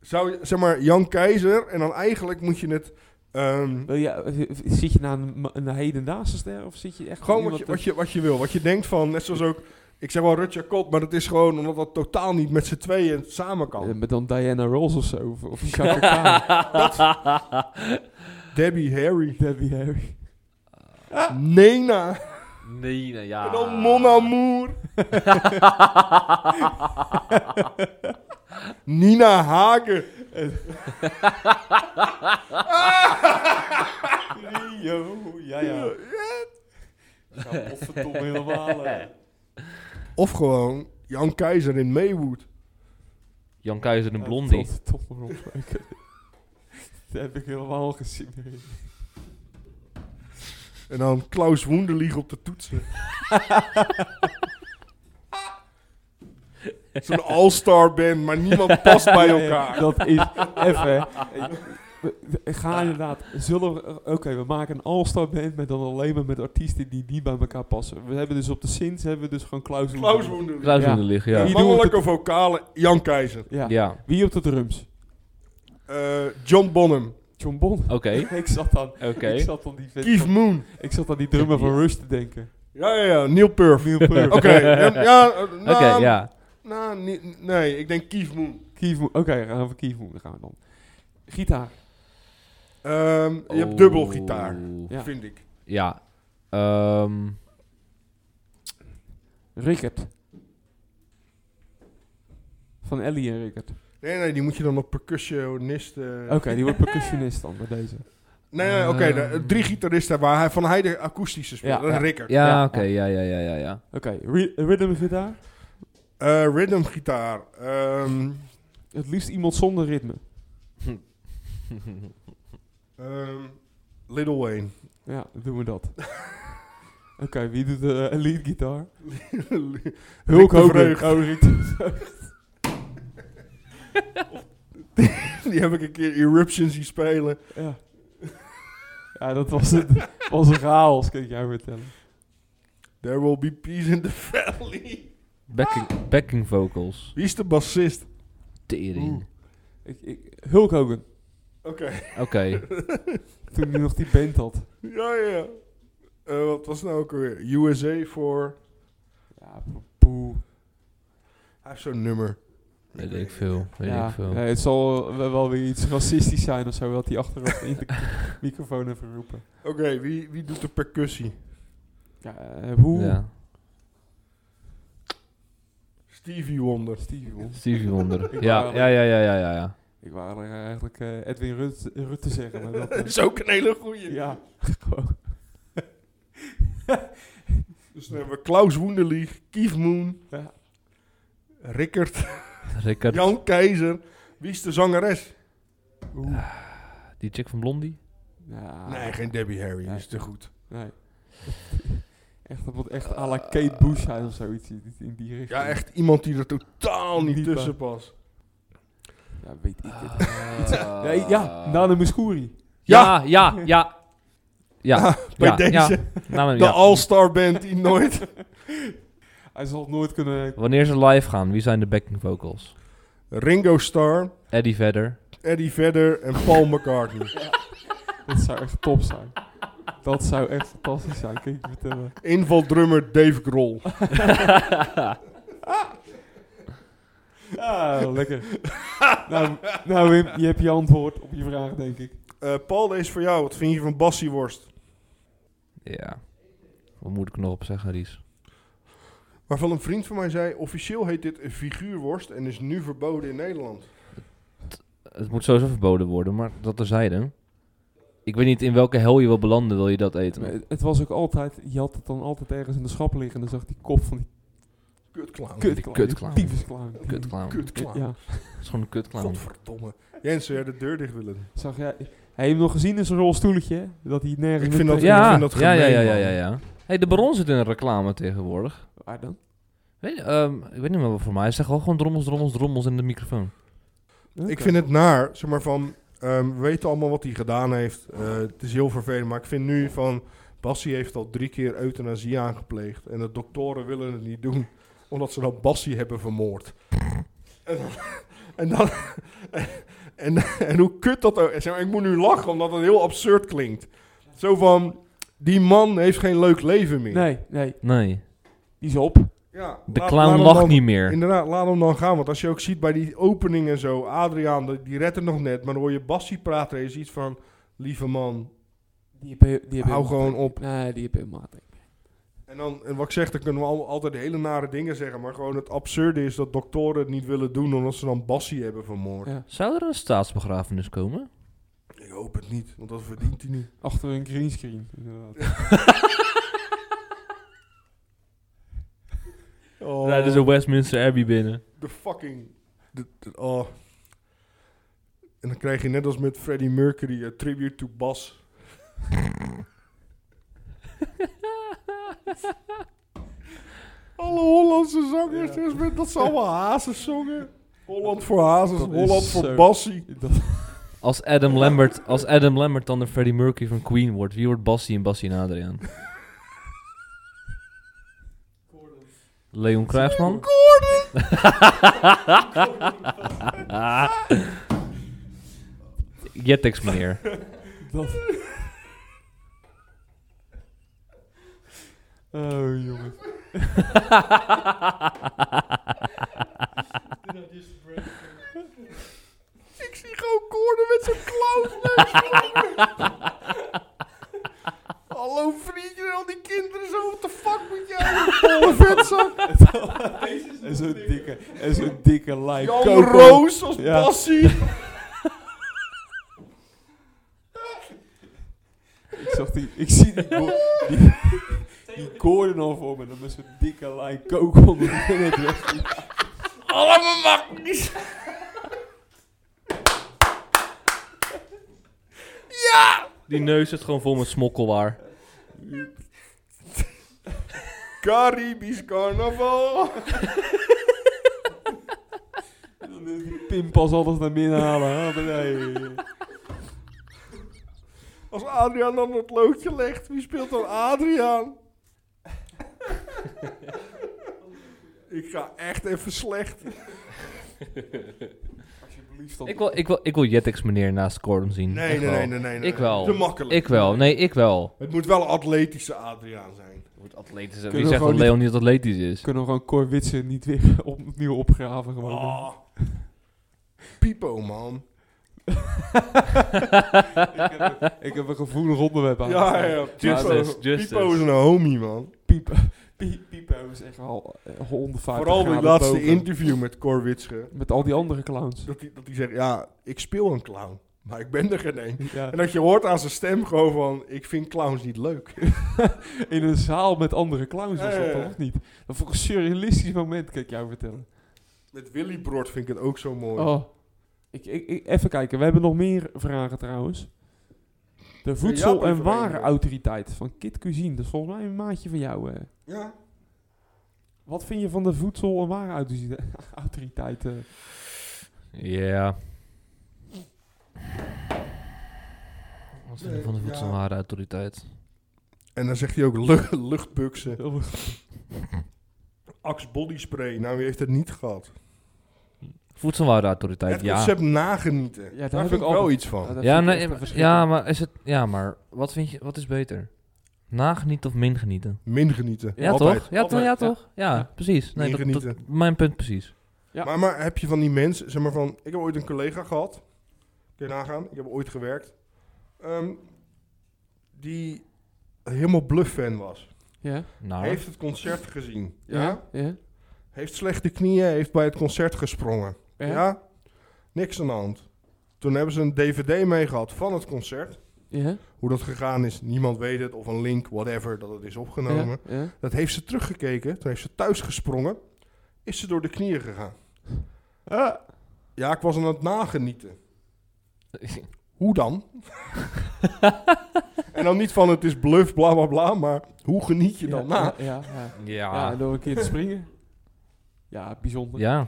Zou je, zeg maar, Jan Keizer en dan eigenlijk moet je het... ehm, Wil je, eh, zit je naar een, ma- een hedendaagse ster of zit je echt... gewoon iemand wat je, wat, je, wat je wil. Wat je denkt van, net zoals ook... Ik zeg wel Rutja Kot, maar dat is gewoon omdat dat totaal niet met z'n tweeën samen dat- kan. eh, maar dan Diana Ross of zo, of, of Chaka Khan, Debbie Harry. Debbie Harry. Nena. Nee, nou ja. En dan Mon Amour. Nina Hagen. Yo, ja, ja. Ja, potverdomme helemaal. eh. Of gewoon Jan Keizer in Maywood. Jan Keizer een Ja, blondie. tot- tot maar op. Ik- Daar heb ik helemaal gezien in. En dan Klaus Woendelieg op de toetsen. Zo'n all-star band, maar niemand past bij elkaar. Dat is even. We- we- Ga inderdaad. Zullen we. eh, Oké, we maken een all-star band met dan alleen maar met artiesten die niet bij elkaar passen. We hebben dus op de Sins hebben we dus gewoon Klaus Klaus Woelenberg. Woendelieg. Kruis Ja. in de licht, Ja. ja. Wie doet Mannelijke vocale Jan Keizer. Ja. Ja, Wie op de drums? Eh, John Bonham. John Bon. oké. ik zat aan. Ik Oké. zat aan die vent Keith van- Moon. Ik zat aan die drummer van Rush te denken. Ja, ja, ja. Neil Perf. Neil Peart. Oké, ja, ja, eh, nou, Oké, ja. nou, ni- nee, ik denk Keith Moon. Keith Moon. Oké, gaan we voor Keith Moon gaan we dan. Gitaar. Ehm, je Oh. hebt dubbel gitaar, Oeh. Ja. vind ik. Oh, Ja. Ehm, Rickert. Van Ellie en Rickert. Nee, nee, die moet je dan op percussionist... eh, Oké, die wordt percussionist dan bij deze. Nee, nee, oké, de- Ehm. drie gitaristen waar hij, van hij de akoestische speelt. Ja, dat is ja. Rickert. ja, Ja. oké. Ja, ja, ja, ja, ja. Oké, ry- rhythm gitaar. Eh, rhythmgitaar. Ehm, Het liefst iemand zonder ritme. ehm, Little Wayne. Ja, dan doen we dat. Oké, wie doet de eh, lead gitaar? Hulk Rick de Hogan. Vreugd. Oh, Rick de Vreugd. Die heb ik een keer Eruption zien spelen. Ja. Ja, dat was, het, was een chaos, kan ik jou vertellen. There will be peace in the valley. Backing, backing vocals. Wie is de bassist? Tering. Oeh. Ik, ik, Hulk Hogan, Oké. Oké. toen hij nog die band had. Ja, ja. ja. Eh, wat was nou ook weer? USA voor... Ja, poe. Hij heeft zo'n nummer. Weet ik veel. Weet Ja, ik veel. nee, het zal wel wel weer iets racistisch zijn of zo, wat hij achteraf in de microfoon heeft geroepen. Oké, wie, wie doet de percussie? Ja, eh, hoe? Ja. Stevie Wonder. Stevie Wonder. Stevie Wonder. Ik ja, wou- ja, ja, ja, ja, ja, ja. Ik wou er eigenlijk eh, Edwin Rutte, Rutte zeggen, maar dat... Dat eh, is ook een hele goeie. ja, gewoon. Dus dan hebben we Klaus Woenderlieg, Kief Moon, Ja. Rickert, Rickard, Jan Keizer. Wie is de zangeres? Oeh. die chick van Blondie? Ah, Ja, Nee, geen Debbie Harry. Nee. is te goed. Nee. echt, dat wordt echt à la Kate Bush zijn of zoiets in in die richting. Ja, echt iemand die er totaal niet Niet tussen past. Ja, weet ik het. Iets- Nee, ja, Nana Mouskouri. Ja, ja, ja. Ja, Ah, Bij ja, deze, ja. Nou, de ja. all-star band die nooit... Hij zal het nooit kunnen... Wanneer ze live gaan, wie zijn de backing vocals? Ringo Starr, Eddie Vedder. Eddie Vedder en Paul McCartney. Dat zou echt top zijn. Dat zou echt fantastisch zijn, kan ik je vertellen. Invaldrummer Dave Grohl. Ah, lekker. nou, nou Wim, je hebt je antwoord op je vraag, denk ik. Eh, Paul, deze is voor jou. Wat vind je van Bassieworst? Ja. Wat moet ik er nog op zeggen, Ries? Waarvan een vriend van mij zei, officieel heet dit een figuurworst en is nu verboden in Nederland. Het moet sowieso verboden worden, maar dat terzijde. Ik weet niet in welke hel je wil belanden, wil je dat Maar eten? het- het was ook altijd... Je had het dan altijd ergens in de schap liggen... en dan zag die kop van die Kutclown. Kut- kutclown. kutclown. Die tyfusclown. Kutclown. Kutclown. Ja. Het is gewoon een kutclown. Godverdomme. Jens, zou jij de deur dicht willen? Zag jij... Hij heeft hem nog gezien in zijn rolstoeletje, hè? dat hij nergens... Ik meer vind dat- tegen- ik Ja, vind dat ja, ja, gemeen, ja, ja, man. ja, ja. hey, de Baron zit in een reclame tegenwoordig. Waar dan? Weet, je, ehm, ik weet niet meer wat voor mij. Hij zegt wel gewoon drommels, drommels, drommels in de microfoon. Ik vind het naar, zeg maar van, ehm, we weten allemaal wat hij gedaan heeft. Eh, het is heel vervelend, maar ik vind nu van, Bassie heeft al drie keer euthanasie aangepleegd. En de doktoren willen het niet doen, omdat ze dan Bassie hebben vermoord. En dan... En, dan, en, en hoe kut dat ook... Zeg maar, ik moet nu lachen, omdat het heel absurd klinkt. Zo van, die man heeft geen leuk leven meer. Nee, nee. Nee, Die is op. Ja, de laat- clown laat hem lacht dan- niet meer. Inderdaad, laat hem dan gaan. Want als je ook ziet bij die opening en zo, Adriaan, die- die redt het nog net. Maar dan hoor je Bassie praten en je ziet van, lieve man. Die heb, die heb Hou helemaal gewoon geen- op. Nee, die heb helemaal geen- En, dan, en wat ik zeg, dan kunnen we al- altijd hele nare dingen zeggen. Maar gewoon het absurde is dat doktoren het niet willen doen omdat ze dan Bassie hebben vermoord. Ja. Zou er een staatsbegrafenis komen? Ik hoop het niet, want dat verdient hij niet. Achter een greenscreen, inderdaad. Oh, Nee, dat is een Westminster Abbey binnen. de fucking... De, de- oh. En dan krijg je net als met Freddie Mercury, een tribute to Bas. Alle Hollandse zangers, dus met dat ze allemaal hazen zongen. Holland voor hazes, Dat is Holland voor zo- Bassie. Dat, Als Adam Lambert, als Adam Lambert dan de Freddie Mercury van Queen wordt, wie wordt Bassie en Bassie en Adriaan? Leon Krijgsman? Gordon! Jettex meneer. dat. Oh, jongen. Ik zie gewoon Gordon met zijn klauwneus. Alle Vincent. En zo'n dikke, en zo'n dikke lijk. Jan koper. Roos als Ja. passie. Ik zag die, ik zie die, go- die, die Gordon al voor me. Dan met zo'n dikke lijn kook onder de net weg. Allemaal makkies. Die neus is gewoon vol met smokkelwaar. Caribisch carnaval. En dan is die pinpas alles naar binnen halen. hè. Nee. Als Adriaan dan het loodje legt, wie speelt dan Adriaan? Ik ga echt even slecht. Alsjeblieft dan. Ik wil, ik wil, ik wil Jetix meneer naast Gordon zien. Nee, Echt nee, wel. nee, nee, nee, nee. Ik wel. Te makkelijk. Ik wel, nee, ik wel. Het moet wel een atletische Adriaan zijn. Atletisch. Kunnen Wie we zegt dat gewoon Leon niet atletisch is? Kunnen we gewoon Cor Witsen niet weer op- opnieuw opgraven gewoon. Ah. Pipo, man. Ik, heb een, ik heb een gevoelig onderwerp aan. Ja, ja, Justice, Pipo, justice. Pipo is een homie, man. Piep, piep, Piepo is echt al eh, 150 Vooral die graden laatste boven. interview met Cor Witsche. Met al die andere clowns. Dat hij dat die zegt, ja, ik speel een clown, maar ik ben er geen een. Ja, En dat je hoort aan zijn stem gewoon van, ik vind clowns niet leuk. in een zaal met andere clowns was Ja, ja, dat ja. toch of niet? Dat vond ik een surrealistisch moment, kan ik jou vertellen. Met Willy Brod vind ik het ook zo mooi. Oh. Ik, ik, ik- even kijken, we hebben nog meer vragen trouwens. De Jaap voedsel- heeft en er een, warenautoriteit van Kit Cuisine. Dat is volgens mij een maatje van jou. eh. Ja. Wat vind je van de voedsel- en warenautoriteit? eh? Ja. Wat vind je Nee, van de ja. voedselwarenautoriteit? En dan zegt hij ook lucht, luchtbuksen. Heel goed. Axe body spray. Nou, wie heeft het niet gehad? Voedselwarenautoriteit, het ja. concept nagenieten. Ja, daar heb vind ik ik al- wel iets van. dat Ja, vind nee, ik echt een maar- verschrikking. ja, maar is het, ja, maar wat vind je, wat is beter? Nagenieten of min genieten? Min genieten. Ja, Altijd. toch? Ja, toch? Altijd, Ja, ja. toch? Ja, Ja. precies. Nee, Min dat- dat, genieten. mijn punt precies. Ja. Maar, maar heb je van die mensen, zeg maar van, ik heb ooit een collega gehad, kun je nagaan, ik heb ooit gewerkt, ehm, die helemaal bluff-fan was. Ja, Nou, Heeft het concert gezien. Ja. ja, ja. Heeft slechte knieën, heeft bij het concert gesprongen. Ja. ja. Niks aan de hand. Toen hebben ze een dvd mee gehad van het concert. ja, Hoe dat gegaan is, niemand weet het, of een link, whatever, dat het is opgenomen. ja, ja. Dat heeft ze teruggekeken. Toen heeft ze thuis gesprongen. Is ze door de knieën gegaan. Ja, ik was aan het nagenieten. Hoe dan? en dan niet van het is bluff, bla bla bla. Maar hoe geniet je dan ja, na? Ja, ja. Ja, ja. en door een keer te springen. Ja, bijzonder. Ja.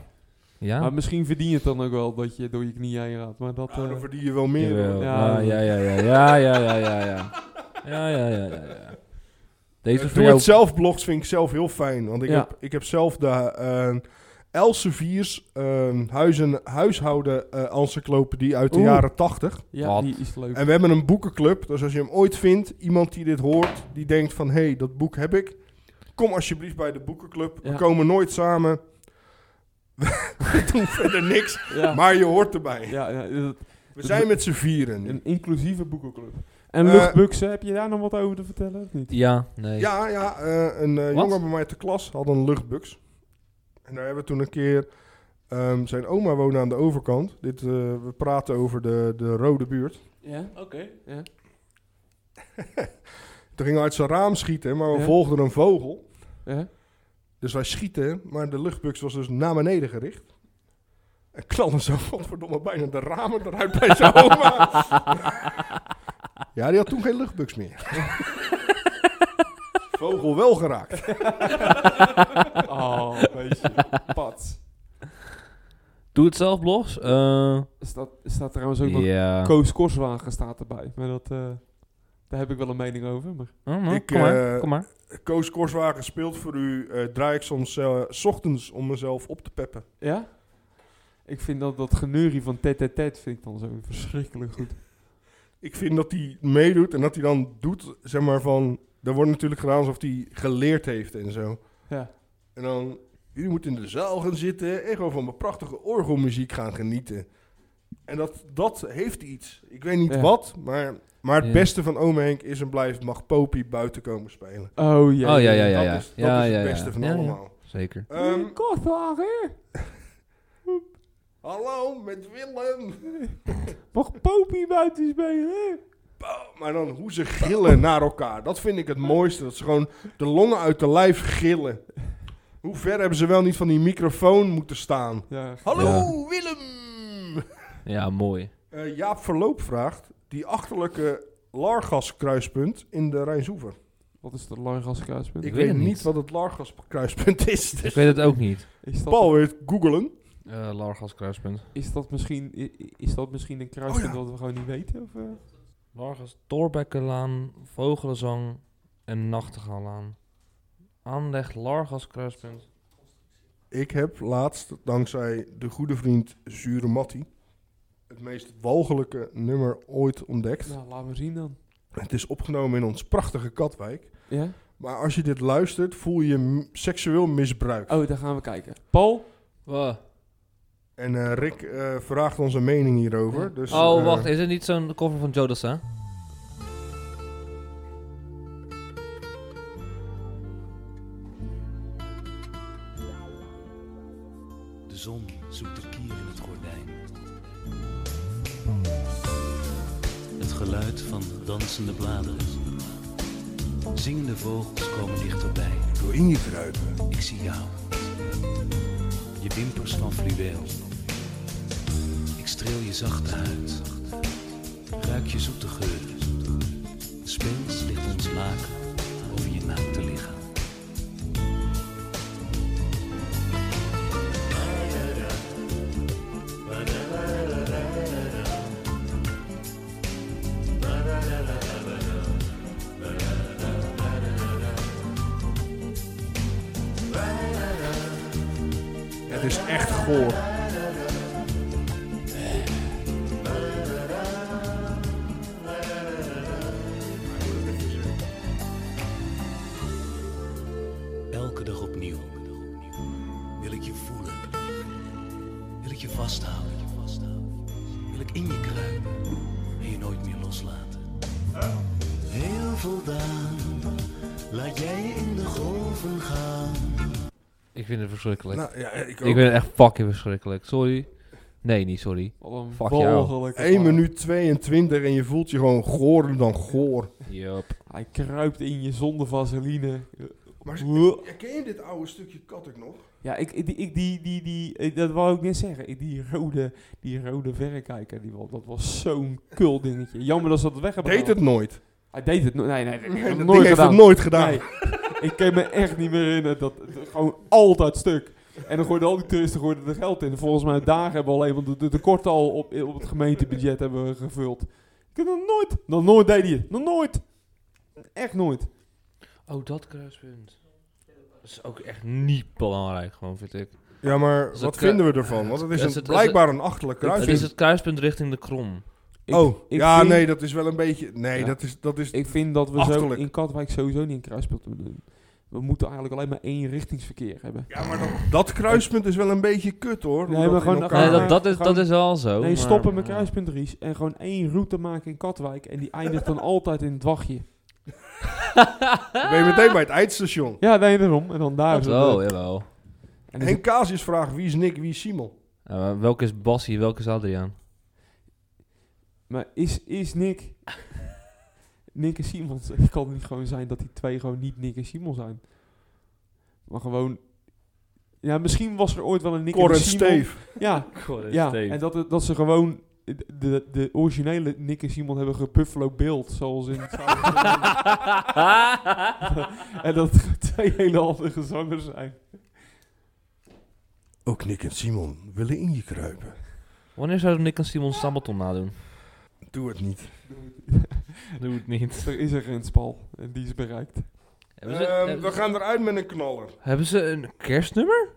Ja. Maar misschien verdien je het dan ook wel dat je door je knieën heen gaat. Maar dat... Nou, eh, dan verdien je wel meer. Jawel. hoor. Ja, Ja, ja, ja, ja, ja, ja, ja, ja, ja. Ja, ja, ja, ja, ja. Deze Eh, voor Doe jou... het zelf blogs vind ik zelf heel fijn. Want ik, Ja. heb, ik heb zelf de eh, Elsevier's eh, huizen, huishouden eh, encyclopedie uit de Oeh. jaren 80. ja, Wat? die is leuk. En we hebben een boekenclub. Dus als je hem ooit vindt, iemand die dit hoort, die denkt van... hé, hey, dat boek heb ik. Kom alsjeblieft bij de boekenclub. Ja. We komen nooit samen. We doen verder niks, Ja, maar je hoort erbij. ja, ja, dat- We zijn met z'n vieren. nu. een inclusieve boekenclub. En Eh, luchtbuksen, heb je daar nog wat over te vertellen of niet? Ja, nee. Ja, ja eh, een eh, Wat? jongen bij mij uit de klas had een luchtbux. En daar hebben we toen een keer... ehm, zijn oma woonde aan de overkant. Dit, eh, we praten over de, de rode buurt. Ja, oké. Ja. Toen ging hij uit zijn raam schieten, maar we Ja. volgden een vogel. Ja. Dus wij schieten, maar de luchtbux was dus naar beneden gericht. En knalde zo, godverdomme, bijna de ramen eruit bij zijn oma. ja, die had toen geen luchtbux meer. Vogel wel geraakt. Oh, beetje pad. Doe het zelf blogs. Eh, Staat, staat trouwens ook nog... ja. Koos Korswagen staat erbij. Maar dat, eh, daar heb ik wel een mening over. Maar Oh, nou, Ik, kom, maar, eh, kom maar. Koos Korswagen speelt voor u. eh, draai ik soms eh, 's ochtends om mezelf op te peppen. Ja? Ik vind dat, dat geneurie van tet tet tet vind ik dan zo verschrikkelijk goed. Ik vind dat hij meedoet en dat hij dan doet, zeg maar van... Er wordt natuurlijk gedaan alsof hij geleerd heeft en zo. Ja. En dan, jullie moeten in de zaal gaan zitten en gewoon van mijn prachtige orgelmuziek gaan genieten. En dat, dat heeft iets. Ik weet niet Ja. wat, maar Maar het Ja. beste van Ome Henk is en blijft mag Popie buiten komen spelen. Oh ja. Oh ja, ja, ja. dat is, dat is Ja, het ja, ja. beste van Ja, ja. allemaal. Zeker. Ehm, Kortwagen. hallo, met Willem. Mag Popie buiten spelen? Boom. Maar dan hoe ze gillen naar elkaar. Dat vind ik het mooiste. Dat ze gewoon de longen uit de lijf gillen. Hoe ver hebben ze wel niet van die microfoon moeten staan? Ja. Hallo, Ja. Willem. Ja, mooi. Eh, Jaap Verloop vraagt die achterlijke Largas kruispunt in de Rijnsoever. Wat is dat Largas kruispunt? Ik weet weet, het niet. niet. wat het Largas kruispunt is. Ik Dus weet het ook niet. Is dat, Paul weet googelen. Eh Largas kruispunt. is dat, misschien, i- i- is dat misschien een kruispunt Oh ja. dat we gewoon niet weten? Of, eh? Largas Torbekkenlaan, Vogelenzang en Nachtegaallaan. Aanleg Largas kruispunt. Ik heb laatst, dankzij de goede vriend Zure Matti, het meest walgelijke nummer ooit ontdekt. Nou, laat maar zien dan. Het is opgenomen in ons prachtige Katwijk. Ja? Maar als je dit luistert, voel je je m- seksueel misbruikt. Oh, daar gaan we kijken. Paul? En eh, Rick eh, vraagt onze mening hierover. Dus, Oh, eh, wacht. Is het niet zo'n cover van Joe Dassin? De zon zoekt de kier in het gordijn. Het geluid van dansende bladeren. Zingende vogels komen dichterbij. Door in je kruipen. Ik zie jou. Je wimpers van fluweel. Ik streel je zachte huid. Ruik je zoete geur. Speels ligt ons laken over je naakte lichaam. Het is echt goor. Elke dag opnieuw wil ik je voelen. Wil ik je vasthouden. Wil ik in je kruipen en je nooit meer loslaten. Heel voldaan, laat jij je in de golven gaan. Ik vind het verschrikkelijk. Nou, ja, ik ook. ik vind het echt fucking verschrikkelijk. Sorry. Nee, niet sorry. Wat een Fuck walgelijke 1 man. minuut 22 en je voelt je gewoon goorder dan goor. Yup. Hij kruipt in je zonder vaseline. Maar Wuh. ken je dit oude stukje kat ook nog? Ja, ik, ik- die, ik, die, die, die, eh, dat wou ik net zeggen. Ik- Die rode, die rode verrekijker, die, wa- dat was zo'n kul dingetje. Jammer dat ze dat weg hebben nou? Deed het gehaald. nooit. Hij deed het nooit. Nee, nee, nee, nee, Dat dat ding nooit heeft het gedaan. nooit gedaan. Nee, ik kan me echt niet meer herinneren. Dat, dat- gewoon altijd stuk. En dan gooiden al die toeristen gooiden er geld in. Volgens mij dagen hebben we alleen want de, de tekorten al op, op het gemeentebudget hebben we gevuld. Ik heb nog nooit, nog nooit deed hij het. Nog nooit. Echt nooit. Oh, dat kruispunt. Dat is ook echt niet belangrijk, gewoon vind ik. Ja, maar wat Is dat, vinden we ervan? Want het is, is een, het- is blijkbaar een achterlijk Het is kruisje. het kruispunt richting de krom. Ik- oh, ik ja, vind- nee, dat is wel een beetje... Nee, Ja. dat is... Dat is Ik vind dat we Achterlijk. zo in Katwijk sowieso niet een kruispunt moeten doen. We moeten eigenlijk alleen maar één richtingsverkeer hebben. ja, maar dat, dat kruispunt is wel een beetje kut, hoor. Nee, Hoe maar dat in gewoon- elkaar- Nee, dat, maar dat, is, gewoon- dat is wel zo. nee, Oh maar- eh. stoppen met kruispunt Ries en gewoon één route maken in Katwijk. En die eindigt dan altijd in het dwachtje. Dan ben je meteen bij het eindstation. Ja, nee, daarom. En dan daar. Dat is het, wel, eh, Oh, jawel. en dan- Henk Casius vraagt, wie is Nick, wie is Simon? Ja, maar welke is Bassie, welke is Adriaan? Maar is, is Nick... Nick en Simon... Het kan niet gewoon zijn dat die twee gewoon niet Nick en Simon zijn. Maar gewoon... Ja, misschien was er ooit wel een Nick Cor en en Simon. Steve. Ja, ja. en dat, het- dat ze gewoon de, de, de originele Nick en Simon hebben gebuffalo beeld, zoals in... en dat het twee hele handige zangers zijn. Ook Nick en Simon willen in je kruipen. Wanneer zouden Nick en Simon Sabaton nadoen? Doe het niet. Doe het niet. Er is er een spal en die is bereikt. Hebben ze, Ehm, hebben we ze- gaan eruit met een knaller. hebben ze een kerstnummer?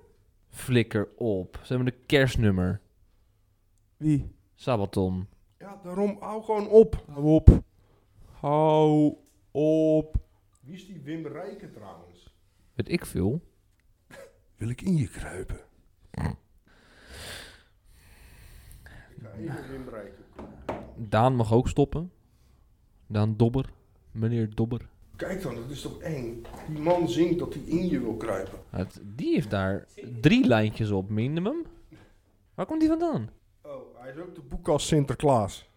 Flikker op. Ze hebben een kerstnummer. Wie? Sabaton. Ja, daarom hou gewoon op. Hou op. Hou op. Wie is die Wim Rijken trouwens? Weet ik veel. Wil ik in je kruipen? Ik ga even Wim Rijken. Daan mag ook stoppen. Dan Dobber. Meneer Dobber. Kijk dan, dat is toch eng. Die man zingt dat hij in je wil kruipen. Het- die heeft daar drie lijntjes op, minimum. Waar komt die vandaan? Oh, hij is ook de boek als Sinterklaas.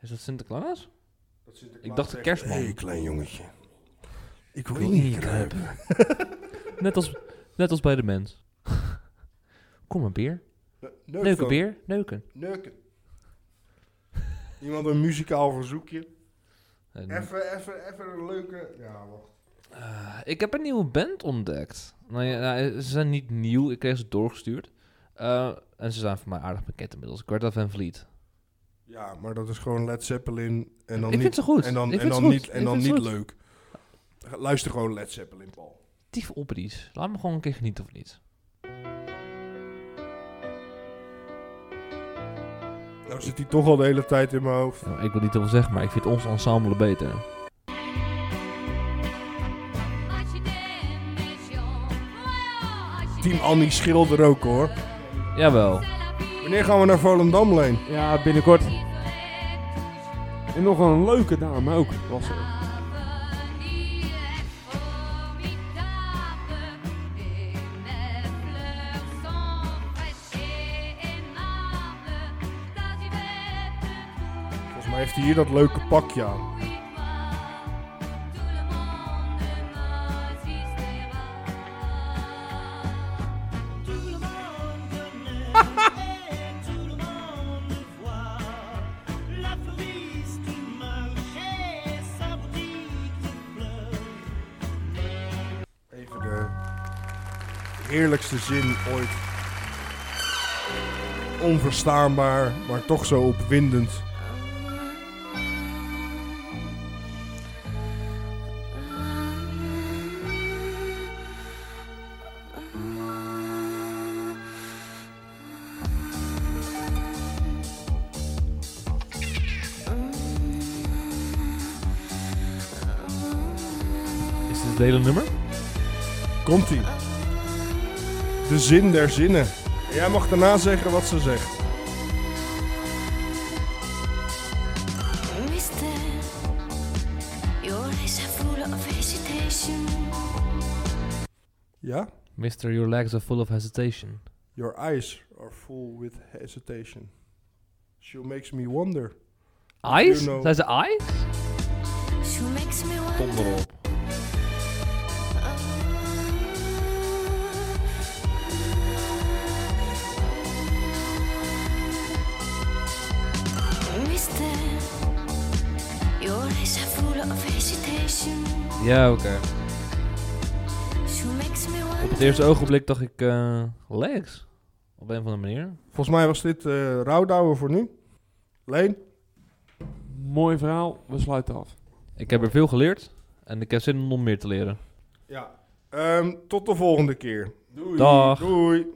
Is dat Sinterklaas? Dat Sinterklaas Ik dacht de zegt, kerstman. hey, klein jongetje. Ik wil in je kruipen. Net als, net als bij de mens. Kom maar, beer. Eh, Neuken. Neuken, beer. Neuken. Neuken. Iemand een muzikaal verzoekje. En- Even, even, even een leuke... Ja, wacht. Eh, ik heb een nieuwe band ontdekt. Nou, ja, nou, ze zijn niet nieuw, ik kreeg ze doorgestuurd. Eh, en ze zijn voor mij aardig bekend inmiddels. Greta Van Vliet. Ja, maar dat is gewoon Led Zeppelin en dan ik niet... vind ze goed. En dan, ik en vind ze dan goed. niet, en Ik dan vind ze niet goed. leuk. Luister gewoon Led Zeppelin, Paul. Tief oppies. Laat me gewoon een keer genieten van iets. Nou zit hij toch al de hele tijd in mijn hoofd. Nou, ik wil niet te veel zeggen, maar ik vind ons ensemble beter. Team Annie schilder ook hoor. Jawel. Wanneer gaan we naar Volendam, Leen? Ja, binnenkort. En nog een leuke dame ook. Was er. Volgens mij heeft hij hier dat leuke pakje aan. Even de heerlijkste zin ooit. Onverstaanbaar, maar toch zo opwindend. Is dit het hele nummer? Komt ie. De zin der zinnen. Jij mag daarna zeggen wat ze zegt. Mister, your eyes are full of hesitation. Ja? Mister, your legs are full of hesitation. Your eyes are full with hesitation. She makes me wonder. Eyes? know. Zijn ze eyes? She makes me Kom wonder. erop. Mister, your eyes are full of hesitation. Ja, oké. She makes me Op het wonder. eerste ogenblik dacht ik eh, legs. Op een of andere manier. Volgens mij was dit eh rouwdouwen voor nu. Leen? Mooi verhaal, we sluiten af. Ik heb er veel geleerd. En ik heb zin om nog meer te leren. Ja. tot de Ehm, volgende keer. Doei. Dag. Doei.